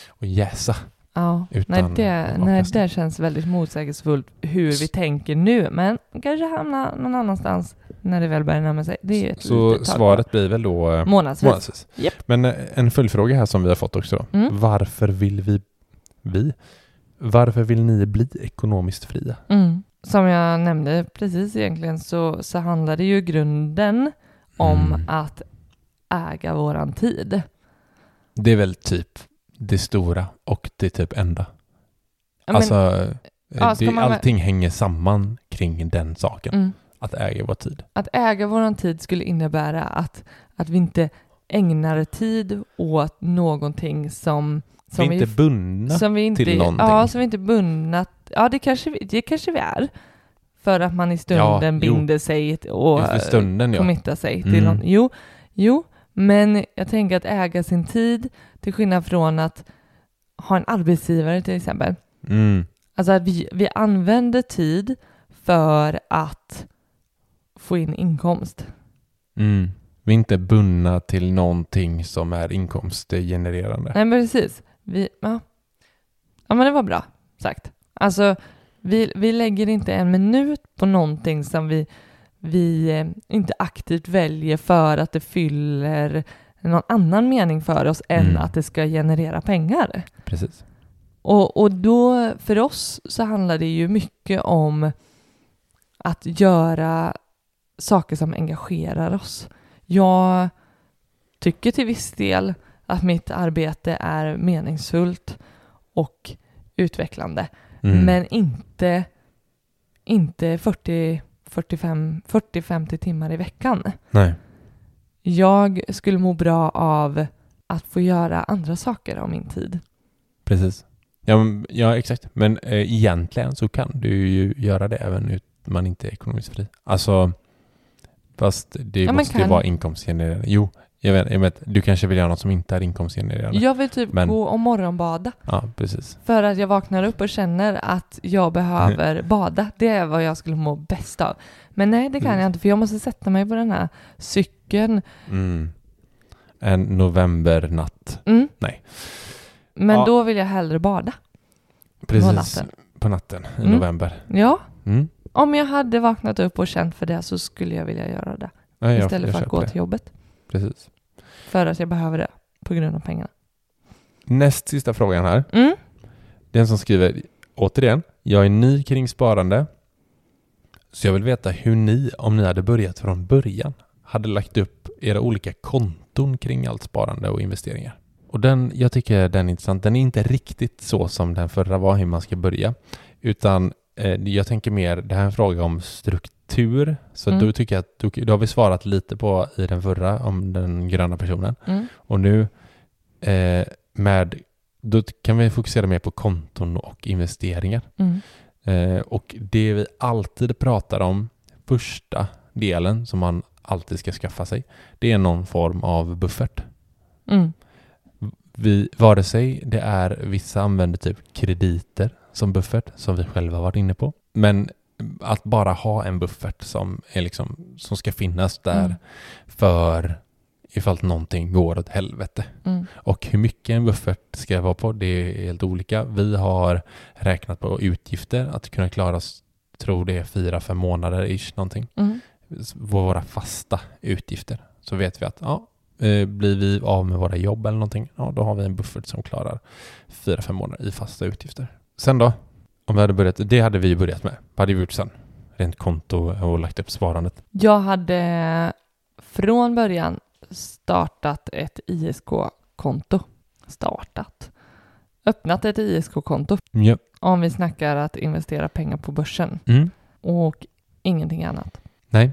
[SPEAKER 2] och jäsa.
[SPEAKER 1] Ja. Nej,
[SPEAKER 2] Utan
[SPEAKER 1] det, nej,
[SPEAKER 2] avkastning.
[SPEAKER 1] det känns väldigt motsägelsefullt hur vi tänker nu, men kanske hamnar någon annanstans när det väl börjar närma sig. Det är ett
[SPEAKER 2] Så
[SPEAKER 1] litet tag
[SPEAKER 2] svaret blir väl då eh,
[SPEAKER 1] kvar. Månadsvis.
[SPEAKER 2] månadsvis.
[SPEAKER 1] Japp.
[SPEAKER 2] Men eh, en följdfråga här som vi har fått också. då.
[SPEAKER 1] Mm.
[SPEAKER 2] Varför vill vi, vi? Varför vill ni bli ekonomiskt fria?
[SPEAKER 1] Mm. Som jag nämnde precis egentligen så, så handlar det ju i grunden om
[SPEAKER 2] Mm.
[SPEAKER 1] att äga våran tid.
[SPEAKER 2] Det är väl typ det stora och det typ enda.
[SPEAKER 1] Ja, men-
[SPEAKER 2] alltså, eh,
[SPEAKER 1] Ja, ska
[SPEAKER 2] det,
[SPEAKER 1] man-
[SPEAKER 2] allting hänger samman kring den saken.
[SPEAKER 1] mm.
[SPEAKER 2] Att äga vår tid.
[SPEAKER 1] Att äga våran tid skulle innebära att, att vi inte ägnar tid åt någonting som, som
[SPEAKER 2] vi är inte bundna.
[SPEAKER 1] som vi inte,
[SPEAKER 2] till någonting.
[SPEAKER 1] Ja, som vi inte är bundna. Ja, det kanske, vi- det kanske vi är. För att man i stunden
[SPEAKER 2] jo.
[SPEAKER 1] binder sig och
[SPEAKER 2] Just för stunden, ja.
[SPEAKER 1] committar sig till
[SPEAKER 2] Mm.
[SPEAKER 1] någon. Jo, jo, men jag tänker att äga sin tid till skillnad från att ha en arbetsgivare till exempel.
[SPEAKER 2] Mm.
[SPEAKER 1] Alltså att vi, vi använder tid för att få in inkomst.
[SPEAKER 2] Mm. Vi är inte bundna till någonting som är inkomstgenererande.
[SPEAKER 1] Nej, men precis. Vi, ja. ja, men det var bra sagt. Alltså, vi, vi lägger inte en minut på någonting som vi, vi eh, inte aktivt väljer för att det fyller någon annan mening för oss än
[SPEAKER 2] Mm.
[SPEAKER 1] att det ska generera pengar.
[SPEAKER 2] Precis.
[SPEAKER 1] Och, och då, för oss så handlar det ju mycket om att göra saker som engagerar oss. Jag tycker till viss del att mitt arbete är meningsfullt och utvecklande,
[SPEAKER 2] Mm.
[SPEAKER 1] men inte, inte 40, 45, 40-50 timmar i veckan.
[SPEAKER 2] Nej.
[SPEAKER 1] Jag skulle må bra av att få göra andra saker av min tid.
[SPEAKER 2] Precis. Ja, men, ja exakt. Men eh, egentligen så kan du ju göra det även ut man inte är ekonomiskt fri. Alltså, fast det
[SPEAKER 1] Ja, men
[SPEAKER 2] måste ju
[SPEAKER 1] kan-
[SPEAKER 2] vara inkomstgenererande. Jo, jag vet, jag vet. Du kanske vill göra något som inte är inkomstgenererande.
[SPEAKER 1] Jag vill typ
[SPEAKER 2] Men-
[SPEAKER 1] gå och morgonbada.
[SPEAKER 2] Ja, precis.
[SPEAKER 1] För att jag vaknar upp och känner att jag behöver
[SPEAKER 2] Mm.
[SPEAKER 1] bada. Det är vad jag skulle må bäst av. Men nej, det kan
[SPEAKER 2] Mm.
[SPEAKER 1] jag inte för jag måste sätta mig på den här cykeln.
[SPEAKER 2] Mm. En novembernatt.
[SPEAKER 1] Mm.
[SPEAKER 2] Nej.
[SPEAKER 1] Men
[SPEAKER 2] Ja.
[SPEAKER 1] då vill jag hellre bada.
[SPEAKER 2] Precis.
[SPEAKER 1] natten.
[SPEAKER 2] På natten i
[SPEAKER 1] Mm.
[SPEAKER 2] november.
[SPEAKER 1] Ja,
[SPEAKER 2] Mm.
[SPEAKER 1] om jag hade vaknat upp och känt för det så skulle jag vilja göra det.
[SPEAKER 2] Ja, jag-
[SPEAKER 1] Istället
[SPEAKER 2] jag
[SPEAKER 1] för att
[SPEAKER 2] köper
[SPEAKER 1] gå
[SPEAKER 2] det.
[SPEAKER 1] till jobbet.
[SPEAKER 2] Precis.
[SPEAKER 1] För att jag behöver det på grund av pengarna.
[SPEAKER 2] Näst sista frågan här.
[SPEAKER 1] Mm.
[SPEAKER 2] Den som skriver återigen, jag är ny kring sparande. Så jag vill veta hur ni, om ni hade börjat från början, hade lagt upp era olika konton kring allt sparande och investeringar. Och den, jag tycker den är intressant. Den är inte riktigt så som den förra var hur man ska börja. Utan eh, jag tänker mer, det här är en fråga om struktur. Så
[SPEAKER 1] Mm.
[SPEAKER 2] då tycker jag att då, då har vi svarat lite på i den förra om den gröna personen.
[SPEAKER 1] Mm.
[SPEAKER 2] Och nu eh, med, då kan vi fokusera mer på konton och investeringar.
[SPEAKER 1] Mm.
[SPEAKER 2] Eh, och det vi alltid pratar om, första delen som man alltid ska skaffa sig, det är någon form av buffert.
[SPEAKER 1] Mm.
[SPEAKER 2] Vi, vare sig det är, vissa använder typ krediter som buffert, som vi själva varit inne på. Men att bara ha en buffert som, är liksom, som ska finnas där
[SPEAKER 1] Mm.
[SPEAKER 2] för ifall någonting går åt helvete.
[SPEAKER 1] Mm.
[SPEAKER 2] Och hur mycket en buffert ska vara på, det är helt olika. Vi har räknat på utgifter, att kunna klara oss, tror det är fyra, fem månader ish någonting.
[SPEAKER 1] Mm.
[SPEAKER 2] Våra fasta utgifter. Så vet vi att ja, eh, blir vi av med våra jobb eller någonting, ja då har vi en buffert som klarar fyra, fem månader i fasta utgifter. Sen då, om vi hade börjat, det hade vi ju börjat med. Vad hade vi gjort sen? Rent konto och lagt upp sparandet.
[SPEAKER 1] Jag hade från början startat ett ISK-konto. Startat. Öppnat ett ISK-konto
[SPEAKER 2] Ja.
[SPEAKER 1] om vi snackar att investera pengar på börsen
[SPEAKER 2] Mm.
[SPEAKER 1] och ingenting annat.
[SPEAKER 2] Nej,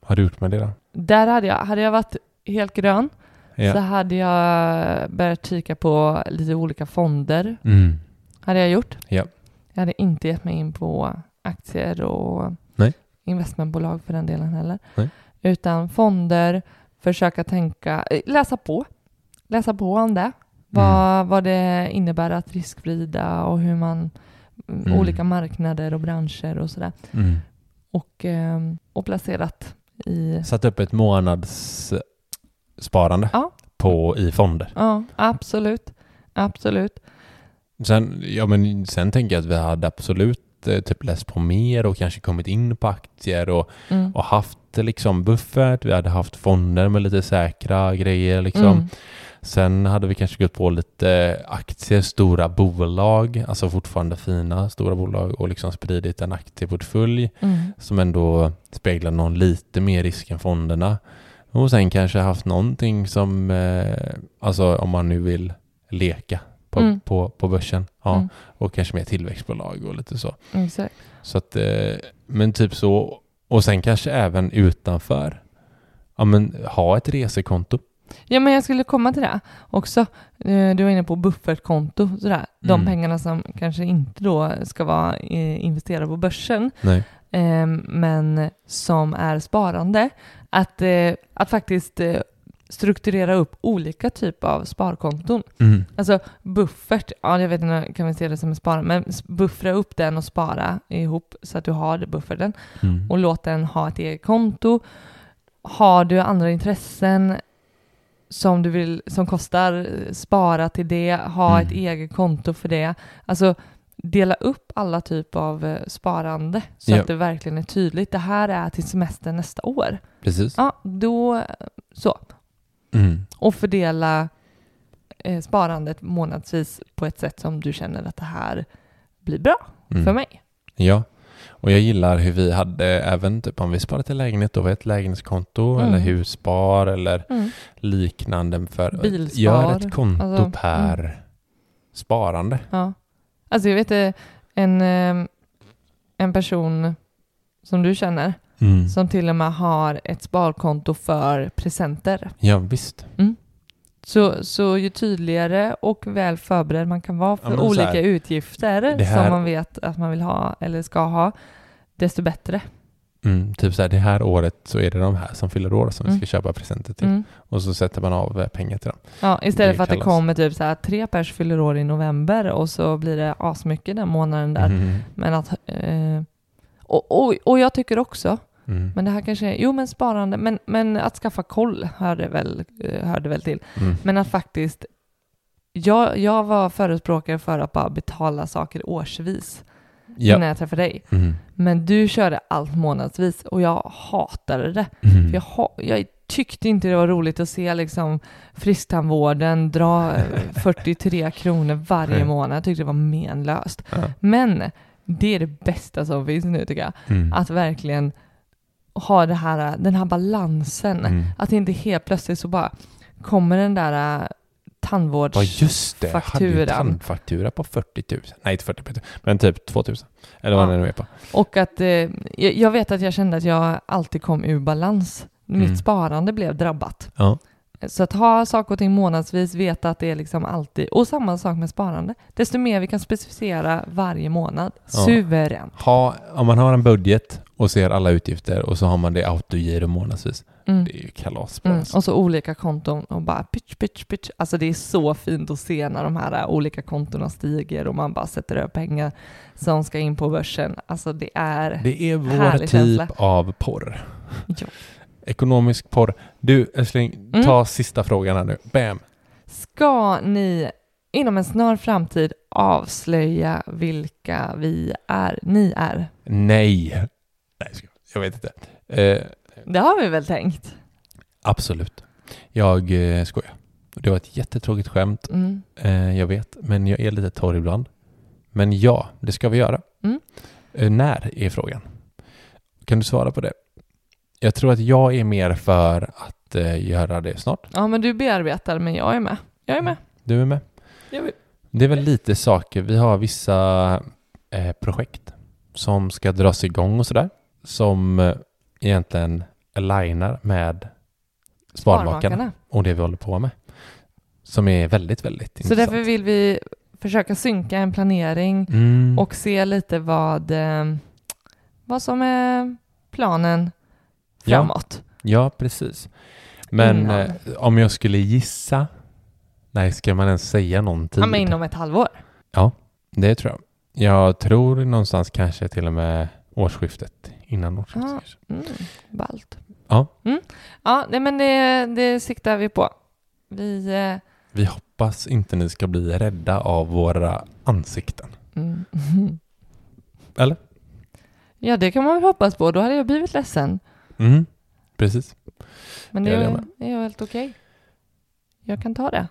[SPEAKER 2] vad har du gjort med det då?
[SPEAKER 1] Där hade jag, hade jag varit helt grön så
[SPEAKER 2] Ja.
[SPEAKER 1] hade jag börjat kika på lite olika fonder.
[SPEAKER 2] Mm.
[SPEAKER 1] Hade jag gjort.
[SPEAKER 2] Ja.
[SPEAKER 1] Jag hade inte gett mig in på aktier och
[SPEAKER 2] Nej.
[SPEAKER 1] investmentbolag för den delen heller.
[SPEAKER 2] Nej.
[SPEAKER 1] Utan fonder, försöka tänka, eh, läsa på. Läsa på om det. Vad,
[SPEAKER 2] Mm.
[SPEAKER 1] vad det innebär att riskvrida och hur man, mm,
[SPEAKER 2] Mm.
[SPEAKER 1] olika marknader och branscher och sådär.
[SPEAKER 2] Mm.
[SPEAKER 1] Och, ehm, och placerat i,
[SPEAKER 2] Satt upp ett månadssparande
[SPEAKER 1] Ja.
[SPEAKER 2] på, i fonder.
[SPEAKER 1] ja absolut, absolut.
[SPEAKER 2] Sen, ja, men sen tänker jag att vi hade absolut eh, typ läst på mer och kanske kommit in på aktier och,
[SPEAKER 1] Mm.
[SPEAKER 2] och haft eh, liksom buffert. Vi hade haft fonder med lite säkra grejer. Liksom.
[SPEAKER 1] Mm.
[SPEAKER 2] Sen hade vi kanske gått på lite aktier, stora bolag, alltså fortfarande fina stora bolag och liksom spridit en aktieportfölj.
[SPEAKER 1] Mm.
[SPEAKER 2] som ändå speglar någon lite mer risk än fonderna. Och sen kanske haft någonting som, eh, alltså om man nu vill leka på,
[SPEAKER 1] Mm.
[SPEAKER 2] på, på börsen. Ja,
[SPEAKER 1] Mm.
[SPEAKER 2] Och kanske mer tillväxtbolag och lite så.
[SPEAKER 1] Exakt.
[SPEAKER 2] så att, eh, men typ så. Och sen kanske även utanför. Ja men ha ett resekonto.
[SPEAKER 1] Ja, men jag skulle komma till det också. Eh, Du var inne på buffertkonto, sådär. De
[SPEAKER 2] Mm.
[SPEAKER 1] pengarna som kanske inte då ska vara eh, investerade på börsen,
[SPEAKER 2] Nej.
[SPEAKER 1] eh, men som är sparande. Att, eh, att faktiskt eh, strukturera upp olika typer av sparkonton.
[SPEAKER 2] Mm.
[SPEAKER 1] Alltså buffert, ja jag vet inte, kan vi se det som en sparande, men s- buffra upp den och spara ihop så att du har bufferten
[SPEAKER 2] Mm.
[SPEAKER 1] och låt den ha ett eget konto. Har du andra intressen som, du vill, som kostar, eh, spara till det, ha ett
[SPEAKER 2] Mm.
[SPEAKER 1] eget konto för det. Alltså dela upp alla typer av eh, sparande så
[SPEAKER 2] Ja.
[SPEAKER 1] att det verkligen är tydligt. Det här är till semestern nästa år.
[SPEAKER 2] Precis.
[SPEAKER 1] Ja, då eh, så.
[SPEAKER 2] Mm.
[SPEAKER 1] Och fördela eh, sparandet månadsvis på ett sätt som du känner att det här blir bra
[SPEAKER 2] Mm.
[SPEAKER 1] för mig.
[SPEAKER 2] Ja, och jag gillar hur vi hade även typ om vi sparar till lägenhet, då var det ett lägenhetskonto
[SPEAKER 1] Mm.
[SPEAKER 2] eller husspar eller
[SPEAKER 1] Mm.
[SPEAKER 2] liknande. För,
[SPEAKER 1] Bilspar.
[SPEAKER 2] Gör ett konto
[SPEAKER 1] Alltså,
[SPEAKER 2] per sparande.
[SPEAKER 1] Ja. Alltså jag vet eh, en, eh, en person som du känner
[SPEAKER 2] Mm.
[SPEAKER 1] som till och med har ett sparkonto för presenter.
[SPEAKER 2] Ja, visst.
[SPEAKER 1] Så, så ju tydligare och väl förberedd man kan vara för
[SPEAKER 2] men så
[SPEAKER 1] olika
[SPEAKER 2] här,
[SPEAKER 1] utgifter
[SPEAKER 2] det här-
[SPEAKER 1] som man vet att man vill ha eller ska ha, desto bättre.
[SPEAKER 2] Mm, typ så här, det här året så är det de här som fyller år som vi
[SPEAKER 1] Mm.
[SPEAKER 2] ska köpa presenter till.
[SPEAKER 1] Mm.
[SPEAKER 2] Och så sätter man av eh, pengar till dem.
[SPEAKER 1] Ja, istället
[SPEAKER 2] Typ. Det
[SPEAKER 1] för att det
[SPEAKER 2] kallas-
[SPEAKER 1] kommer typ så här, tre pers fyller år i november och så blir det asmycket den månaden där.
[SPEAKER 2] Mm.
[SPEAKER 1] Men att, eh, och, och, och jag tycker också
[SPEAKER 2] Mm.
[SPEAKER 1] Men det här kanske är, jo men sparande, men, men att skaffa koll hörde väl, eh, hörde väl till.
[SPEAKER 2] Mm.
[SPEAKER 1] Men att faktiskt, jag, jag var förespråkare för att bara betala saker årsvis
[SPEAKER 2] Ja.
[SPEAKER 1] innan jag träffade dig.
[SPEAKER 2] Mm.
[SPEAKER 1] Men du körde allt månadsvis och jag hatade det. För Jag,
[SPEAKER 2] Mm.
[SPEAKER 1] ha, jag tyckte inte det var roligt att se liksom frisktandvården
[SPEAKER 2] <laughs>
[SPEAKER 1] dra eh, 43 kronor varje
[SPEAKER 2] Nej.
[SPEAKER 1] månad. Jag tyckte det var menlöst.
[SPEAKER 2] Ja.
[SPEAKER 1] Men det är det bästa som finns nu tycker jag
[SPEAKER 2] Mm.
[SPEAKER 1] att verkligen ha det här, den här balansen.
[SPEAKER 2] Mm.
[SPEAKER 1] Att inte helt plötsligt så bara kommer den där äh,
[SPEAKER 2] Ja
[SPEAKER 1] tandvårds...
[SPEAKER 2] just det, jag hade ju
[SPEAKER 1] Fakturan.
[SPEAKER 2] tandfaktura på 40 000. Nej inte 40 000, men typ 2 000. Eller vad
[SPEAKER 1] Ja.
[SPEAKER 2] det nu är på.
[SPEAKER 1] Och att eh, jag, jag vet att jag kände att jag alltid kom ur balans. Mitt
[SPEAKER 2] Mm.
[SPEAKER 1] sparande blev drabbat.
[SPEAKER 2] Ja.
[SPEAKER 1] Så att ha saker och ting månadsvis, veta att det är liksom alltid... Och samma sak med sparande. Desto mer vi kan specificera varje månad.
[SPEAKER 2] Ja.
[SPEAKER 1] Suveränt.
[SPEAKER 2] Ha, om man har en budget och ser alla utgifter och så har man det autogiro månadsvis.
[SPEAKER 1] Mm.
[SPEAKER 2] Det är ju kalas på
[SPEAKER 1] Mm.
[SPEAKER 2] alltså.
[SPEAKER 1] Och så olika konton och bara pitch, pitch, pitch. Alltså det är så fint att se när de här äh, olika kontona stiger och man bara sätter över pengar som ska in på börsen. Alltså det är...
[SPEAKER 2] Det är vår
[SPEAKER 1] Härlig
[SPEAKER 2] typ
[SPEAKER 1] känsla.
[SPEAKER 2] av porr.
[SPEAKER 1] Ja.
[SPEAKER 2] Ekonomisk porr. Du älskling,
[SPEAKER 1] Mm.
[SPEAKER 2] ta sista frågan här nu. Bam!
[SPEAKER 1] Ska ni inom en snar framtid avslöja vilka vi är, ni är?
[SPEAKER 2] Mm. Nej! Nej, jag skojar. jag vet inte. Eh,
[SPEAKER 1] Det har vi väl tänkt?
[SPEAKER 2] absolut. Jag eh, skojar. Det var ett jättetråkigt skämt.
[SPEAKER 1] Mm.
[SPEAKER 2] Eh, jag vet, men jag är lite torr ibland. Men ja, det ska vi göra.
[SPEAKER 1] Mm.
[SPEAKER 2] Eh, när är frågan? Kan du svara på det? Jag tror att jag är mer för att eh, göra det snart.
[SPEAKER 1] Ja, men du bearbetar, men jag är med. Jag är med.
[SPEAKER 2] Du är med?
[SPEAKER 1] Jag vill.
[SPEAKER 2] Det är väl lite saker. Vi har vissa eh, projekt som ska dras igång och sådär. Som eh, egentligen alignar med Sparmakarna och det vi håller på med. Som är väldigt, väldigt
[SPEAKER 1] Så
[SPEAKER 2] intressant.
[SPEAKER 1] därför vill vi försöka synka en planering
[SPEAKER 2] Mm.
[SPEAKER 1] och se lite vad, eh, vad som är planen
[SPEAKER 2] Ja.
[SPEAKER 1] framåt.
[SPEAKER 2] Ja, precis. Men
[SPEAKER 1] Innan.
[SPEAKER 2] eh, om jag skulle gissa... Nej, ska man ens säga någon tid?
[SPEAKER 1] Ja, men inom ett halvår.
[SPEAKER 2] Det tror jag. Jag tror någonstans kanske till och med årsskiftet. Innan årsskiftet
[SPEAKER 1] Ja.
[SPEAKER 2] kanske.
[SPEAKER 1] Mm, ballt.
[SPEAKER 2] Ja.
[SPEAKER 1] Mm. Ja, nej, men det, det siktar vi på. Vi... Eh,
[SPEAKER 2] Vi hoppas inte ni ska bli rädda av våra ansikten.
[SPEAKER 1] Mm. <laughs>
[SPEAKER 2] Eller?
[SPEAKER 1] Ja, det kan man väl hoppas på. Då hade jag blivit ledsen.
[SPEAKER 2] Mm, precis.
[SPEAKER 1] Men det
[SPEAKER 2] Ja, det
[SPEAKER 1] är,
[SPEAKER 2] med.
[SPEAKER 1] är ju helt okej. Jag kan ta det.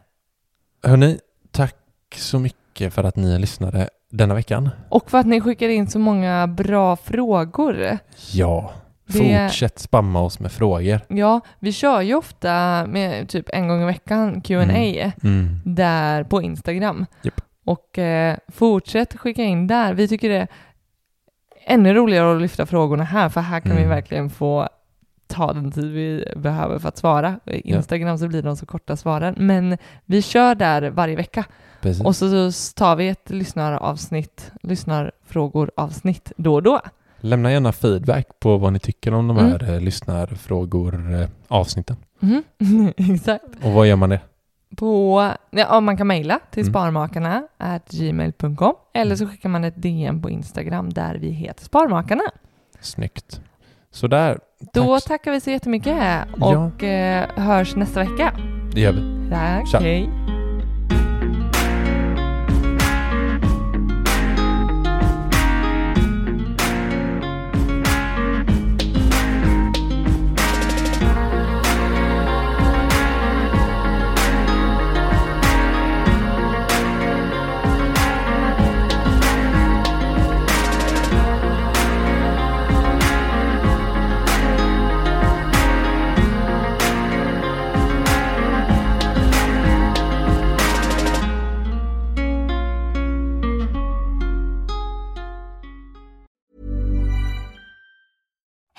[SPEAKER 2] Hörni, tack så mycket för att ni lyssnade denna veckan.
[SPEAKER 1] Och för att ni skickar in så många bra frågor.
[SPEAKER 2] Ja,
[SPEAKER 1] Det-
[SPEAKER 2] fortsätt spamma oss med frågor.
[SPEAKER 1] Ja, vi kör ju ofta med typ en gång i veckan Q&A
[SPEAKER 2] Mm. Mm.
[SPEAKER 1] där på Instagram.
[SPEAKER 2] Japp.
[SPEAKER 1] Och eh, fortsätt skicka in där. Vi tycker det är ännu roligare att lyfta frågorna här, för här kan
[SPEAKER 2] Mm.
[SPEAKER 1] vi verkligen få ta den tid vi behöver för att svara. I
[SPEAKER 2] Ja.
[SPEAKER 1] Instagram så blir de så korta svaren, men vi kör där varje vecka.
[SPEAKER 2] Precis.
[SPEAKER 1] Och så så tar vi ett lyssnaravsnitt, lyssnarfrågor-avsnitt då och då. <laughs>
[SPEAKER 2] Lämna gärna feedback på vad ni tycker om de
[SPEAKER 1] Mm.
[SPEAKER 2] här eh, lyssnarfrågor-avsnitten.
[SPEAKER 1] Mhm. Exakt.
[SPEAKER 2] Och vad gör man det?
[SPEAKER 1] På, ja, man kan mejla till
[SPEAKER 2] Mm.
[SPEAKER 1] sparmakarna at gmail.com eller så skickar man ett DM på Instagram där vi heter Sparmakarna.
[SPEAKER 2] Snyggt. Sådär,
[SPEAKER 1] Då
[SPEAKER 2] Tack.
[SPEAKER 1] tackar vi så jättemycket
[SPEAKER 2] Ja.
[SPEAKER 1] och eh, hörs nästa vecka.
[SPEAKER 2] det gör vi.
[SPEAKER 1] Tack,
[SPEAKER 2] Tja.
[SPEAKER 1] hej.